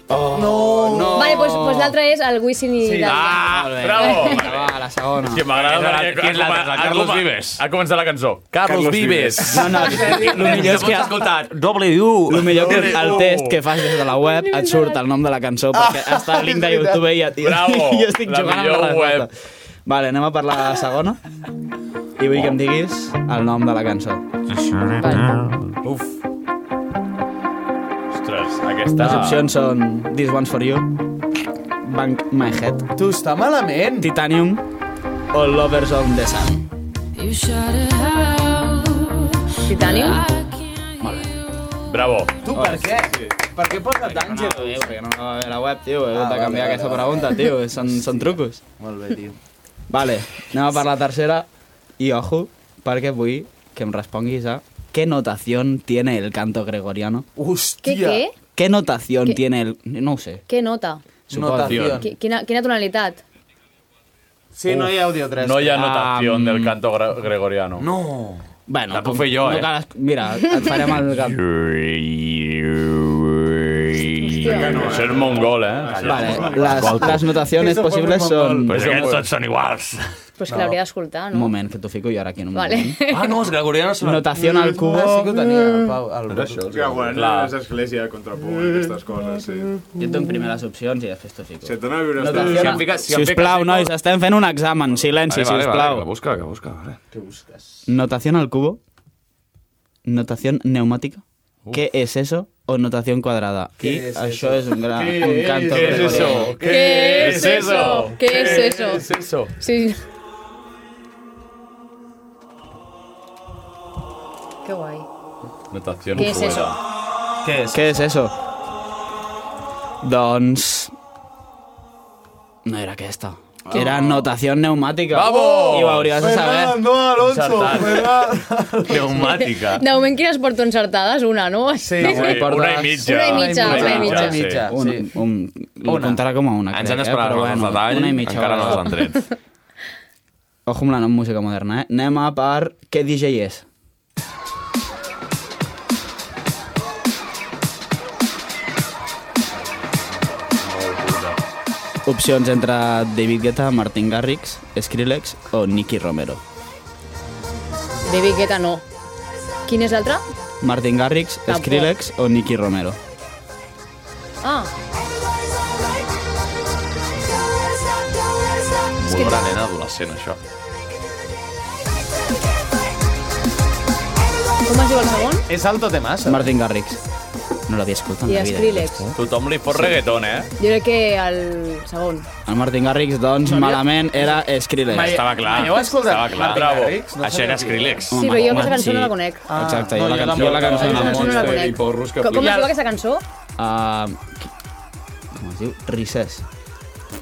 S2: Oh, no.
S9: No. Vale, pues, pues l'altre és el Wisin i sí,
S3: Ah,
S9: Daddy. Yankee.
S3: bravo!
S2: Va, la segona.
S3: És que m'agrada
S14: Qui és
S3: perquè
S14: l'altre? Qui és l'altre?
S3: ha- ha-
S14: Carlos
S3: ha-
S14: Vives.
S3: Ha començat la cançó.
S14: Carlos Vives.
S2: No, no, el millor és que...
S14: Pots
S2: escoltat, W. El millor que el test que fas des de la web et surt el nom de la cançó perquè
S3: Ah,
S2: està el link de
S3: és veritat.
S2: YouTube i, et, i
S3: Bravo,
S2: jo estic
S3: la
S2: jugant amb
S3: millor
S2: la resposta. Vale, anem a per la segona i vull que em diguis el nom de la cançó. Uf.
S3: Ostres, aquesta...
S2: Les opcions són This One's For You, Bank My Head... Tu, està malament! Titanium o Lovers on the Sun.
S9: Titanium?
S3: Bravo.
S8: Tu per què? Per què posa d'Àngels?
S2: No, perquè no va bé la web, tio. He
S8: Ah,
S2: hagut de
S8: vale,
S2: canviar
S8: vale,
S2: aquesta
S8: vale.
S2: pregunta, tio. Són, són trucos.
S8: Molt bé, tio.
S2: Vale, anem a per la tercera. I ojo, perquè vull que em responguis a ¿Qué notación tiene el canto gregoriano?
S9: Què,
S2: Hòstia!
S9: què?
S2: ¿Qué notación tiene el...? No ho sé.
S9: Què nota?
S2: Suposo. Notación.
S9: Qui- Quina, quina tonalitat?
S8: Sí, no hi ha audio 3.
S3: No hi ha notació um... del canto gre gregoriano.
S2: No. Bueno,
S3: la puc fer jo,
S2: no
S3: eh?
S2: cal- Mira, et farem el...
S3: Això és mongol, eh?
S2: Vale, las, las notaciones posibles son...
S3: Pues aquests tots són iguals.
S9: Pues que l'hauria d'escoltar,
S2: Un
S9: no?
S2: moment, que t'ho fico jo ara aquí en un
S9: Vale.
S2: moment.
S7: Ah, no, els gregorianos són...
S2: Notación al cubo.
S7: Ah,
S8: sí que ho tenia, Pau. El...
S2: No és això,
S16: Que guanyen
S2: Clar.
S16: les esglésies contra el públic, aquestes coses, sí.
S2: Jo et dono primer les opcions i després t'ho fico. Si et
S16: dono primer les
S2: Notación
S16: opcions.
S2: al-
S16: Si em fiques- si em
S2: Si us
S16: fiques
S2: plau,
S16: eco-
S2: nois, estem fent un examen. Silenci,
S7: Vale, vale,
S2: si us
S7: vale,
S2: plau.
S7: que busca, que busca. Vale.
S2: ¿Qué buscas? Notación al cubo. Notación neumática. ¿Qué es eso? O notación cuadrada.
S17: ¿Qué
S2: y
S17: es
S2: eso es un gran
S17: ¿Qué
S2: un canto
S17: es eso?
S2: gregoriano.
S17: ¿Qué ¿Qué es es eso? eso? ¿Qué es ¿Qué eso? es
S3: eso?
S9: Sí. Que guai.
S3: Notación
S9: Què és
S3: cubana.
S9: eso?
S2: ¿Qué es, eso? Dons. No era que esta.
S17: ¿Qué?
S2: Era notación neumática.
S17: ¡Vamos!
S2: Y ho hauries de saber.
S16: Ah,
S17: Fernando Alonso, Encertat.
S3: Pneumàtica.
S9: De moment que les porto encertades, una, no? Sí,
S3: una i mitja.
S9: Una i mitja, una i mitja.
S2: Un, un, un, comptarà com a una,
S7: Ens
S2: crec,
S7: han d'esperar
S2: eh? Però
S7: els
S2: bueno,
S7: detalls,
S2: una i mitja,
S7: encara no
S2: vale.
S7: els han tret.
S2: Ojo amb la no música moderna, eh? Anem a per què DJ és. Opcions entre David Guetta, Martin Garrix, Skrillex o Nicky Romero.
S9: Baby Guetta no. Quin és l'altre?
S2: Martin Garrix,
S9: Tampoc.
S2: Skrillex o Nicky Romero.
S9: Ah.
S7: Molt bona nena adolescent, això.
S9: Com es diu el segon?
S8: És alto temassa.
S2: Martin Garrix. No l'havia escoltat en
S9: I
S2: la vida.
S9: Skrillex.
S2: aquest, eh?
S3: Tothom li fot reggaeton, eh?
S9: Jo crec que el segon.
S2: El Martin Garrix, doncs, malament era Skrillex.
S3: Mai- Estava clar. mai heu escoltat
S2: Estava clar.
S3: Martin Bravo. Garrix? No Això sabia era qui era. Skrillex.
S9: Sí, però jo aquesta cançó no la conec.
S2: Ah. Exacte, jo
S3: No,
S2: la,
S3: jo
S2: can...
S3: tampoc.
S2: jo la cançó no la
S9: no la
S2: conec.
S9: conec. Com, com es diu aquesta cançó?
S2: Ah, qui- com es diu? Ricés.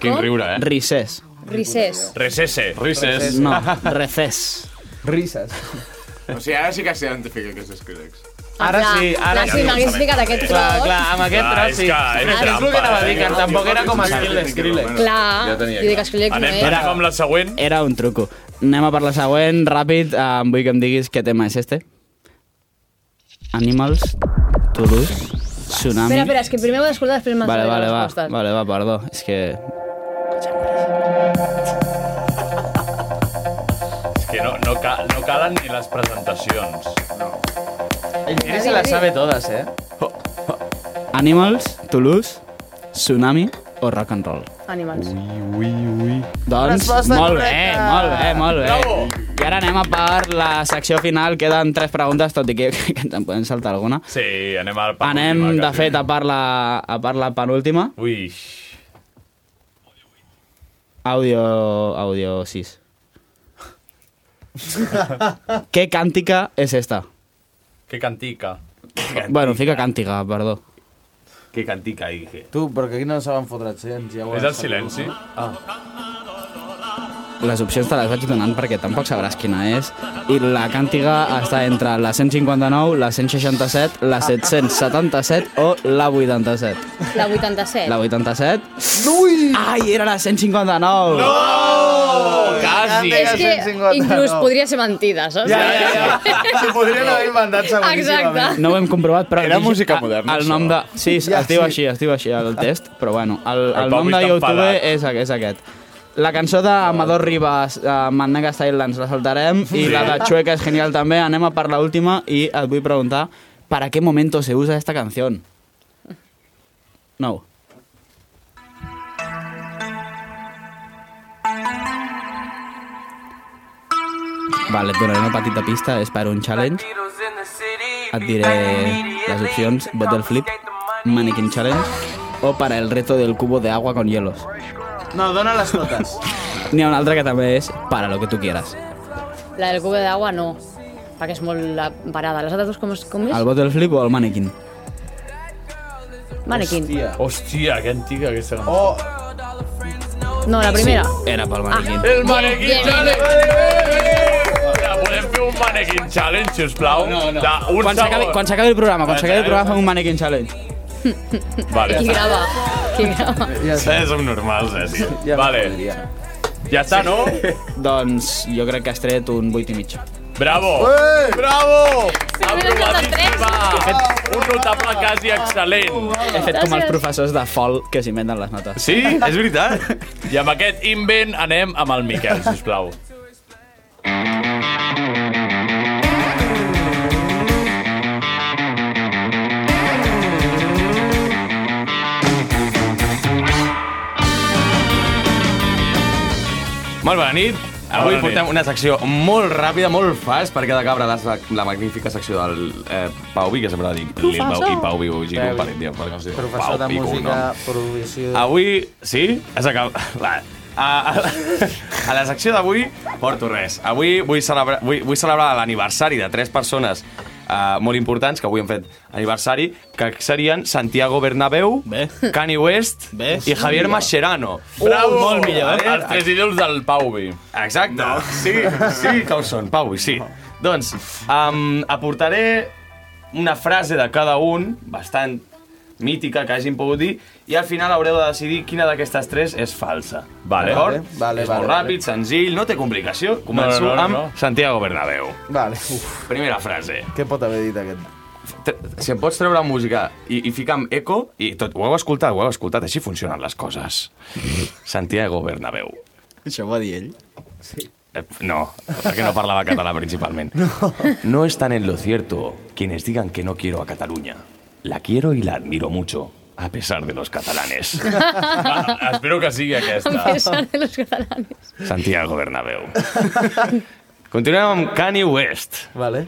S9: Quin Com? riure,
S3: eh?
S2: Ricés.
S9: Ricés.
S3: Recesse.
S16: Recés.
S2: No, recés.
S8: Rises.
S16: O sigui, ara sí que s'identifica que és Skrillex.
S8: Ara
S9: Clar,
S8: sí, ara
S9: clar,
S8: sí.
S9: si m'hagués ficat aquest
S8: Clar,
S9: tros-
S8: clar, amb aquest
S3: Clar,
S8: tros
S3: Ah, és
S8: sí.
S3: que és
S8: és el
S3: trampa,
S8: que anava a
S3: eh?
S8: dir, que tampoc era com a estil de Skrillex.
S9: Clar,
S2: Ja tenia
S9: jo dic Skrillex no
S2: Anem,
S9: és.
S2: anem
S3: amb la següent.
S2: Era un truco. Anem a per la següent, ràpid. eh, Em vull que em diguis què tema és este. Animals, Toulouse, Tsunami...
S9: Espera, espera, és que primer ho he d'escoltar, després m'han
S2: Vale,
S9: de
S2: vale,
S9: les
S2: va,
S9: respostes.
S2: vale, va, perdó. És que...
S3: És que no, no, cal, no calen ni les presentacions.
S8: Ell se la sabe todas, eh?
S2: Animals, Toulouse, Tsunami o Rock and Roll?
S9: Animals.
S2: Ui, ui. Doncs,
S9: Resposta
S2: molt bé,
S9: correcta.
S2: molt bé, molt bé. I ara anem a per la secció final. Queden tres preguntes, tot i que, que ens en podem saltar alguna.
S3: Sí, anem al pa
S2: Anem, de fet, a per la, a per la penúltima.
S3: Ui.
S2: Àudio, àudio 6. Què càntica és esta?
S3: Que cantica.
S2: Bueno, fica càntica, perdó.
S7: Que cantica, dije.
S8: Tu, però que aquí no saben fotre accents. Ja ho
S3: És
S8: has
S3: el silenci?
S8: Ah.
S2: Les opcions te les vaig donant perquè tampoc sabràs quina és. I la càntiga està entre la 159, la 167, la 777 o la 87.
S9: La 87.
S2: La 87? Ui! Ai, era la 159!
S9: No!
S2: Quasi!
S9: És que inclús podria ser mentida, saps?
S2: Ja, ja,
S8: S'ho podrien haver inventat seguríssimament.
S9: Exacte.
S2: No ho hem comprovat, però...
S8: Era música
S2: a-
S8: moderna,
S2: El
S8: això.
S2: nom de... Sí, Ah. es,
S8: Ja,
S2: es diu
S8: sí.
S2: així, es diu així el test, però bueno, el,
S8: El
S2: el,
S8: Pau
S2: nom
S8: està
S2: de YouTube
S8: enfadat.
S2: és, aqu- és aquest. La cançó d'Amador Ribas, uh, Mandanga Style, ens la saltarem, i
S8: Sí.
S2: la de Chueca és genial també. Anem a per l'última i et vull preguntar per a què momento se usa esta canción? No. Vale, et donaré una petita pista, és per un challenge. Et diré les opcions, Bottle Flip, Mannequin Challenge o para el reto del cubo de agua con hielos.
S8: No, dona-les totes.
S2: N'hi ha una altra que també és para lo que tu quieras.
S9: La del cubo d'agua no, perquè és molt la parada. Les altres dues com, es- com és?
S2: El Bottle Flip o el Mannequin?
S9: Mannequin.
S3: Hòstia, que antiga aquesta cançó.
S9: No, la primera.
S2: Sí, era pel Mannequin.
S8: Ah.
S3: El Mannequin
S9: Bien, bien.
S3: Challenge! Ja, podem fer un Mannequin Challenge, sisplau? No, no. De un
S2: Quan s'acabi quan s'acabi el programa, quan s'acabi el programa fem un Mannequin Challenge.
S3: Vale.
S9: Qui grava? Qui grava?
S3: Ja som normals, eh, tio. Ja vale. Ja està, no?
S2: doncs jo crec que has tret un 8 i mig.
S3: Bravo! Bravo! Sí. aprovadíssima! Un notable quasi excel·lent.
S12: He fet com els professors de fol que s'inventen les notes.
S3: Sí, és veritat. I amb aquest invent anem amb el Miquel, sisplau.
S8: Molt bona nit. Avui
S3: Bona nit.
S8: portem una secció molt ràpida, molt fast, perquè de cabra la, sac- la magnífica secció del eh, Pau Vi, que sempre la dic Lil Pau i Pau Vi, o Gico, per dir, per com es diu.
S2: Professor
S8: Pau
S2: de
S8: Vi, com un
S2: música,
S8: nom.
S2: producció...
S8: Avui, sí? Has acabat... Va. A, a, a la secció d'avui porto res. Avui vull celebrar, vull, vull celebrar l'aniversari de tres persones uh, molt importants, que avui hem fet aniversari, que serien Santiago Bernabéu, Bé. Kanye West Bé. i Javier Mascherano.
S3: Bravo! Molt millor, eh? Els tres
S8: ídols del Pauvi. Exacte. No. Sí, sí que ho són, Pauvi, sí. Doncs, um, aportaré una frase de cada un, bastant mítica que hagin pogut dir, i al final haureu de decidir quina d'aquestes tres és falsa.
S3: Vale.
S8: D'acord?
S3: Vale, vale,
S8: és
S3: vale,
S8: molt
S3: vale.
S8: ràpid, senzill, no té complicació. Començo
S3: No, no, no,
S8: amb
S3: no.
S8: Santiago Bernabéu.
S2: Vale, uf.
S8: Primera frase.
S2: Què pot haver dit aquest?
S8: Tre- Si em pots treure música i, i ficar amb eco, i tot, ho heu escoltat, ho heu escoltat, així funcionen les coses. Santiago Bernabéu.
S12: Això ho va dir ell?
S8: Sí. Eh, No, perquè no parlava català principalment. No. no están en lo cierto quienes digan que no quiero a Cataluña. La quiero y la admiro mucho, a pesar de los catalanes.
S3: Va, Ah, espero que sigui aquesta.
S9: Pensant en los catalanes.
S8: Santiago Bernabéu. Continuem amb Kanye West.
S2: Vale.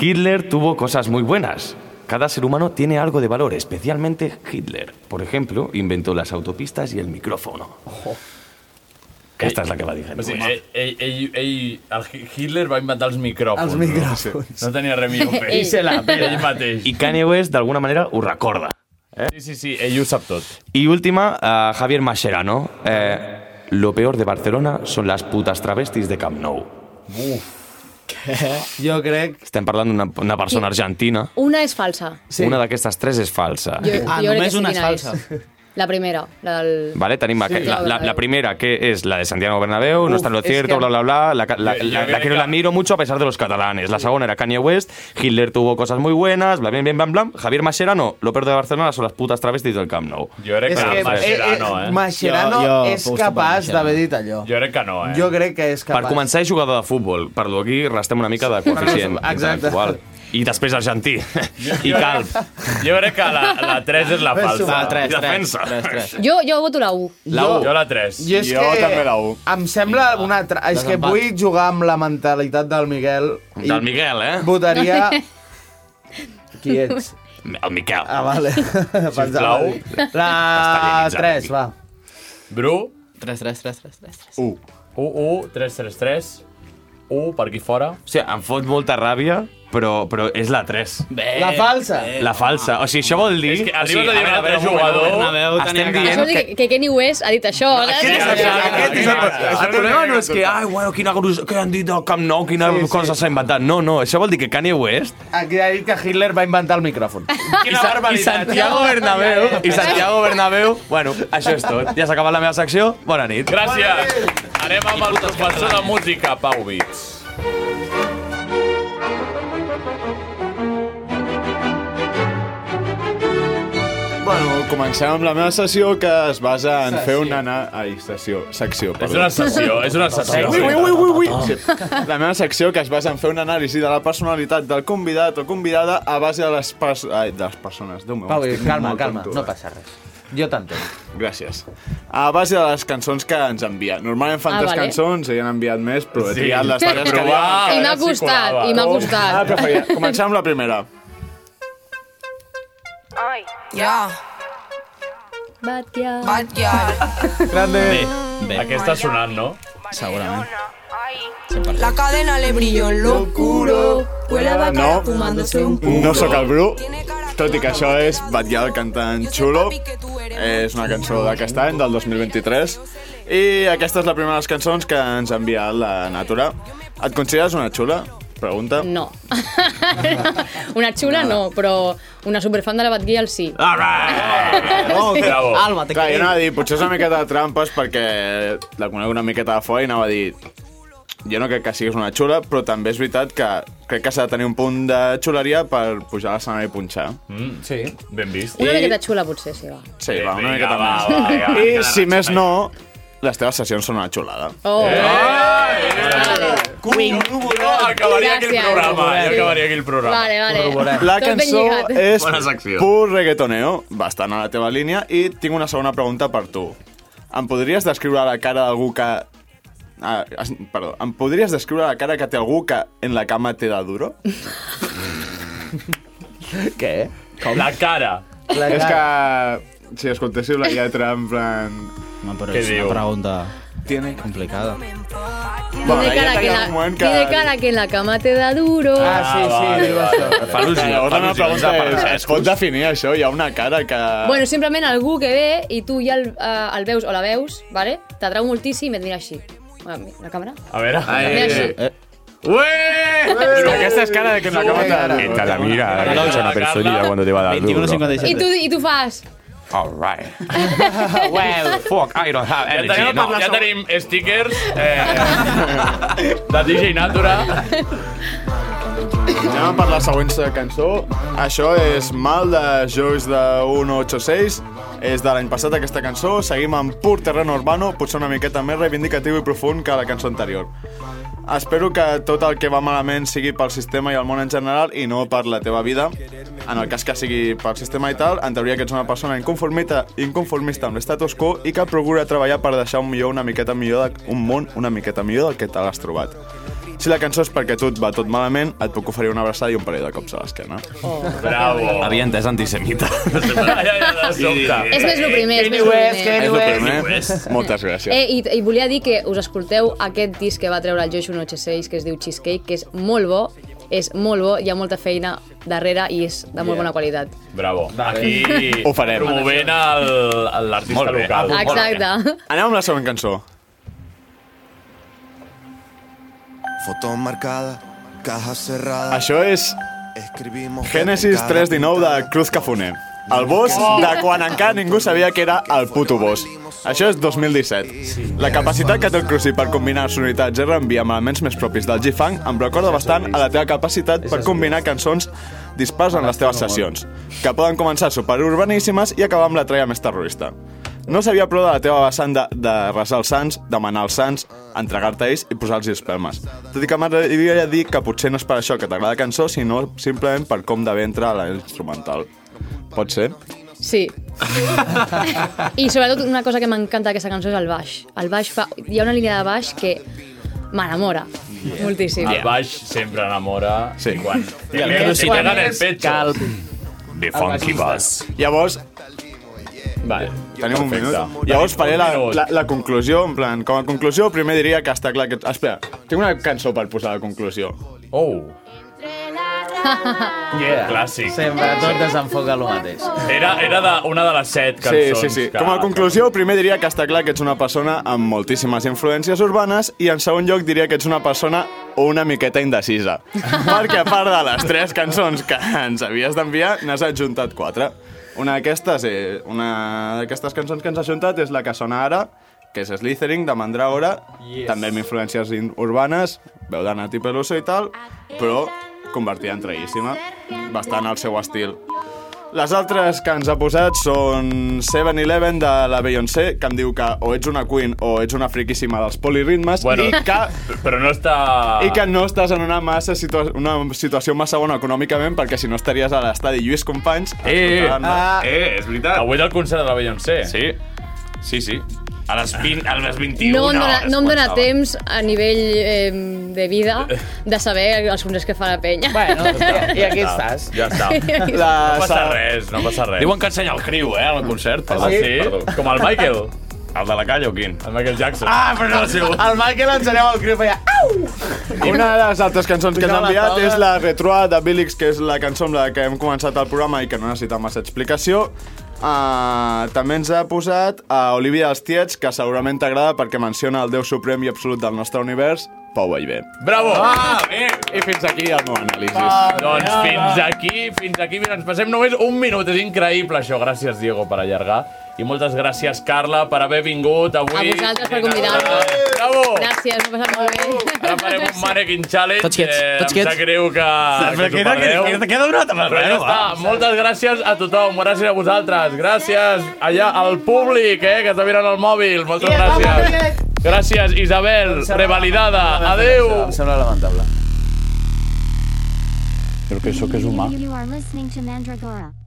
S8: Hitler tuvo cosas muy buenas. Cada ser humano tiene algo de valor, especialmente Hitler. Por ejemplo, inventó las autopistas y el micrófono. Esta es la que va a decir.
S3: O sigui, ell, ell, ell, ell, el Hi- Hitler va inventar els micròfons.
S8: Els micròfons.
S3: No, no tenia res millor a fer.
S8: Ell se la pela.
S3: Ell mateix.
S8: I Kanye West, d'alguna manera, ho recorda. Eh?
S3: Sí, sí, sí, ell ho sap tot.
S8: Y última, a Javier Mascherano. Eh, lo peor de Barcelona son las putas travestis de Camp Nou.
S2: Uf. Què? Jo crec...
S8: Estem parlant d'una una persona argentina.
S9: Una és falsa.
S8: Sí. Una d'aquestes tres és falsa.
S9: Jo,
S12: Ah,
S9: jo
S12: només
S9: crec que sé
S12: una és
S9: quina
S12: falsa.
S9: La primera, la del...
S8: Vale, tenim sí.
S9: Sí.
S8: la, la, la primera, que és la de Santiago Bernabéu, no
S9: Uf,
S8: està en lo
S9: és
S8: cierto,
S9: que-
S8: bla, bla, bla. La, la,
S3: Jo-
S8: la,
S3: jo
S8: la,
S3: crec
S8: quiero, la admiro mucho a pesar de los catalanes. La segona era Kanye West, Hitler tuvo cosas muy buenas, bla, bla, bla, bla, bla. Javier Mascherano, lo peor de Barcelona son las putas travestis del Camp Nou.
S3: Jo crec que, que Mascherano, eh?
S2: Mascherano
S8: Jo- jo
S2: és
S8: aposto per
S2: capaç
S8: Mascherano.
S2: d'haver dit allò.
S3: Jo crec que no, eh?
S2: Jo crec que és
S8: Per
S2: capaç.
S8: començar, és jugador de futbol. Per lo aquí restem una mica de coeficient
S2: Exacte.
S8: intel·lectual. I després argentí. I calb.
S3: Jo crec que la, la 3 és la
S8: Ves
S3: falsa.
S8: sumant.
S3: La 3,
S8: I
S3: defensa. 3, 3.
S9: Jo, jo voto la 1.
S3: La
S2: Jo-
S3: 1. Jo la 3.
S2: Jo, és que Em sembla una altra... És que
S3: Desempat.
S2: vull jugar amb la mentalitat del Miguel. i
S8: Del Miguel, eh?
S2: Votaria... Qui ets?
S8: El Miquel.
S2: Ah, vale. Pensava
S3: Sisplau.
S2: dir. La 3, va.
S3: Bru? 3, 3, 3, 3, 3. 1. 1, 1, 3, 3, 3. 1 per aquí fora.
S8: Hòstia, em fot molta ràbia, però, però és la 3.
S3: Bé,
S2: La falsa.
S8: La falsa. O sigui, això vol dir...
S3: És que
S8: o sigui,
S3: arribes a dir un altre
S8: veure, moment,
S3: jugador,
S8: moment, moment. Estem
S9: Això
S8: dient
S9: és
S8: que...
S9: que, que Kenny West ha dit això. saps?
S8: Aquest és el, el problema no és que, ai, bueno, quina grus... que han dit del Camp Nou, quina sí, cosa s'ha inventat. No, no, això vol dir que Kanye West
S2: Aquí ha dit que Hitler va inventar el micròfon.
S8: I, Sa I Santiago Bernabéu. I Santiago Bernabéu. Bueno, això és tot. Ja s'ha acabat la meva secció. Bona nit.
S3: Gràcies. Anem amb el professor de música, Pau Vits.
S10: Bueno, comencem amb la meva sessió, que es basa en fer una... Na... Ai, sessió, secció, perdó.
S3: una sessió, és una sessió.
S10: Ui, ui, ui, ui, ui. Sí. La meva secció, que es basa en fer una anàlisi de la personalitat del convidat o convidada a base de les, pers... Ai, de les persones. Déu meu,
S2: Pau,
S10: estic
S2: calma,
S10: molt
S2: calma,
S10: tonto. eh.
S2: no passa res. Jo t'entenc.
S10: Gràcies. A base de les cançons que ens envia. Normalment fan
S9: Ah,
S10: ah, tres
S9: vale.
S10: vale. cançons, ell n'ha enviat més, però he
S3: Sí.
S10: triat les
S3: Per
S10: tres que
S3: provar,
S10: havia-
S9: I
S10: que
S9: m'ha
S10: havia
S9: costat,
S10: circulava.
S9: i m'ha
S10: Oh.
S9: costat.
S10: Ah, preferia. Comencem amb la primera.
S13: Yeah.
S9: Bad girl.
S13: Bad girl.
S2: Grande.
S3: Bé, bé. Aquesta està sonant, no? Segurament.
S13: La cadena le brilló en lo oscuro. Huele a bacala
S10: No.
S13: fumándose un puro.
S10: No sóc el Bru, tot i que això és Batllar el cantant Xulo. És una cançó d'aquest any, del 2023. I aquesta és la primera de les cançons que ens ha enviat la Natura. Et consideres una xula? Pregunta.
S9: No. una xula no, però una superfan de la Bad Girl sí.
S3: All right!
S10: Oh,
S9: Sí.
S10: bravo.
S9: Alma, te
S10: Clar, jo
S9: quiero.
S10: anava a dir, potser és una miqueta de trampes perquè la conec una miqueta de fora i anava a dir
S8: jo no crec que siguis una xula, però també és veritat que crec que s'ha de tenir un punt de xuleria per pujar a l'escenari i punxar.
S3: Mm. Sí. Ben vist.
S9: Una miqueta xula, potser, sí, va.
S8: Sí, va, una
S3: Vinga,
S8: miqueta
S3: va,
S8: més.
S3: va, vinga,
S8: I,
S3: vinga,
S8: si més no, les teves sessions són una xulada.
S9: Oh.
S8: Eh,
S3: No, acabaria aquell
S9: Gràcies.
S3: programa. Ja acabaria aquell programa.
S9: Vale, vale.
S8: La
S9: Tot ben
S8: cançó
S9: lligat.
S8: és
S3: Bona secció.
S8: pur reggaetoneo, bastant a la teva línia, i tinc una segona pregunta per tu. Em podries descriure la cara d'algú que... Ah, es- perdó. Em podries descriure la cara que té algú que en la cama té de duro?
S18: Què?
S8: Com?
S3: La cara.
S8: La
S18: És
S8: que si escoltéssiu la lletra en plan...
S2: No, però
S8: Què
S2: és
S8: diu?
S2: una pregunta
S8: Tiene...
S2: complicada.
S9: Tiene cara, que la, tiene cara que en la cama te da duro.
S8: Ah,
S2: Ah,
S8: Fa
S3: il·lusió,
S8: Llavors,
S3: fa
S8: la meva
S3: il·lusió, ens
S8: pregunta
S3: ha
S8: és,
S3: parlat.
S8: es pot definir això? Hi ha una cara que...
S9: Bueno, simplement algú que ve i tu ja el, eh, el veus o la veus, vale? t'atrau moltíssim i et mira així. La, la càmera?
S3: A veure.
S8: Ai, eh,
S9: Mira així.
S8: Ué! Aquesta és cara de que en la cama té de duro.
S19: Esta la mira, la que es una personilla cuando te va a dar duro.
S8: eh.
S9: I tu, i tu fas...
S19: All right. well, fuck, I don't have
S3: Ja
S8: eh,
S19: energy.
S3: tenim,
S19: no.
S3: no, ja tenim stickers eh, de DJ Natura.
S8: Anem a per la següent cançó. Això és Mal de Joys de 186. És de l'any passat aquesta cançó. Seguim amb Pur Terreno Urbano, potser una miqueta més reivindicatiu i profund que la cançó anterior. Espero que tot el que va malament sigui pel sistema i el món en general i no per la teva vida. En el cas que sigui pel sistema i tal, en teoria que ets una persona inconformita, inconformista amb l'estatus quo i que procura treballar per deixar un millor una miqueta millor de, un món una miqueta millor del que te l'has trobat. Si la cançó és perquè a tu et va tot malament, et puc oferir una abraçada i un parell de cops a l'esquena.
S9: Oh.
S3: Bravo.
S20: Havia entès antisemita.
S9: És més lo primer, és més lo primer.
S8: És el primer.
S20: West.
S8: eh, Moltes gràcies.
S9: Eh, i, I volia dir que us escolteu aquest disc que va treure el Josh 186, que es diu Cheesecake, que és molt bo, és molt bo, hi ha molta feina darrere i és de molt
S3: Yeah.
S9: bona qualitat.
S3: Bravo. Aquí
S8: Ho farem.
S3: promovent el- l'artista
S8: Molt bé.
S3: local.
S9: Exacte.
S8: Anem amb la següent cançó.
S15: Foto marcada, caja cerrada.
S8: Això és
S15: Escribimos
S8: Genesis 319 de Cruz Cafuné. El boss de quan encara ningú sabia que era el puto boss. Això és 2017. La capacitat que té el Cruci per combinar sonoritats R&B amb elements més propis del G-Funk em recorda bastant a la teva capacitat per combinar cançons dispars en les teves sessions, que poden començar superurbaníssimes i acabar amb la traia més terrorista. No sabia prou de la teva vessant de, de resar els sants, demanar els sants, entregar-te a ells i posar-los espelmes. Tot i que m'agradaria dir que potser no és per això que t'agrada la cançó, sinó simplement per com de bé entra la instrumental. Pot ser?
S9: Sí. I sobretot una cosa que m'encanta d'aquesta cançó és el baix. El baix fa... Hi ha una línia de baix que m'enamora moltíssim.
S3: El baix sempre enamora. Sí. Quan...
S8: I el
S3: I el
S8: Cruci
S3: si tenen
S8: també.
S3: el pecho. Cal...
S19: De
S8: funky
S19: bass.
S8: Llavors,
S3: Vale.
S8: Tenim un minut.
S3: Perfecte.
S8: Llavors faré la,
S3: minut.
S8: la, la conclusió, en plan, com a conclusió, primer diria que està clar que... Espera, tinc una cançó per posar de conclusió.
S3: Oh.
S18: Yeah.
S3: Clàssic.
S18: Sempre tot desenfoca el mateix.
S3: Era, era de, una de les set
S8: Sí,
S3: cançons.
S8: sí, sí.
S3: Que...
S8: Com a conclusió, primer diria que està clar que ets una persona amb moltíssimes influències urbanes i en segon lloc diria que ets una persona una miqueta indecisa. Perquè a part de les tres cançons que ens havies d'enviar, n'has adjuntat quatre. Una d'aquestes eh, una d'aquestes cançons que ens ha adjuntat és la que sona ara, que és Slithering, de Mandragora, yes. també amb influències in- urbanes, veu de Nati Peluso i tal, però convertida en traïssima, bastant al seu estil. Les altres que ens ha posat són 7-Eleven de la Beyoncé, que em diu que o ets una queen o ets una friquíssima dels poliritmes bueno.
S3: Bueno,
S8: i, que,
S3: però no està...
S8: i que no estàs en una, massa situa una situació massa bona econòmicament perquè si no estaries a l'estadi Lluís Companys
S3: Eh, eh,
S8: escoltant-
S3: ah. eh, és veritat. Avui és el concert de la Beyoncé. Sí.
S20: Sí, sí. A les, 20, a les 21
S9: No, em dona,
S20: hores
S9: no em dona
S20: començava.
S9: temps a nivell eh, de vida de saber els concerts que fa la penya.
S18: Bueno,
S3: I aquí estàs. Ja està.
S8: La-
S3: No passa res, no passa res.
S20: Diuen que ensenya el criu, eh, al concert.
S3: Ah, sí? Com el Michael.
S20: El de la calle o quin?
S3: El Michael Jackson.
S20: Ah, però no el seu.
S18: El Michael ens anava al crio i feia... Au!
S8: Una de les altres cançons que ens ha
S18: Pujava la
S8: enviat
S18: taula.
S8: és la Retroa de Billix, que és la cançó amb la que hem començat el programa i que no necessita massa explicació. Uh, també ens ha posat a Olivia dels Tiets, que segurament t'agrada perquè menciona el Déu Suprem i Absolut del nostre univers,
S10: Pau Vallvé.
S3: Bravo!
S10: Ah, bé. I fins aquí el meu anàlisi.
S3: Doncs fins aquí, fins aquí. Mira, ens passem només un minut. És increïble, això. Gràcies, Diego, per allargar. I moltes gràcies, Carla, per haver vingut
S9: A
S3: avui.
S9: vosaltres per convidar-nos.
S3: Bravo!
S9: Gràcies, m'ho he passat molt bé.
S3: Ara farem un mannequin challenge.
S8: Tots quiets,
S3: eh, em
S8: tots
S3: sap
S8: quiets.
S3: greu que,
S8: Però
S3: que
S8: queda-
S3: t'ho perdeu.
S8: queda- queda una altra
S3: Però ja
S8: vegada,
S3: està.
S8: va.
S3: Moltes gràcies a tothom. Gràcies a vosaltres. Gràcies allà al públic, eh, que està mirant el mòbil. Moltes gràcies. Gràcies, Isabel, revalidada. Adeu.
S2: Em sembla lamentable.
S3: Creo que eso que es humà.
S21: You are listening to Mandragora.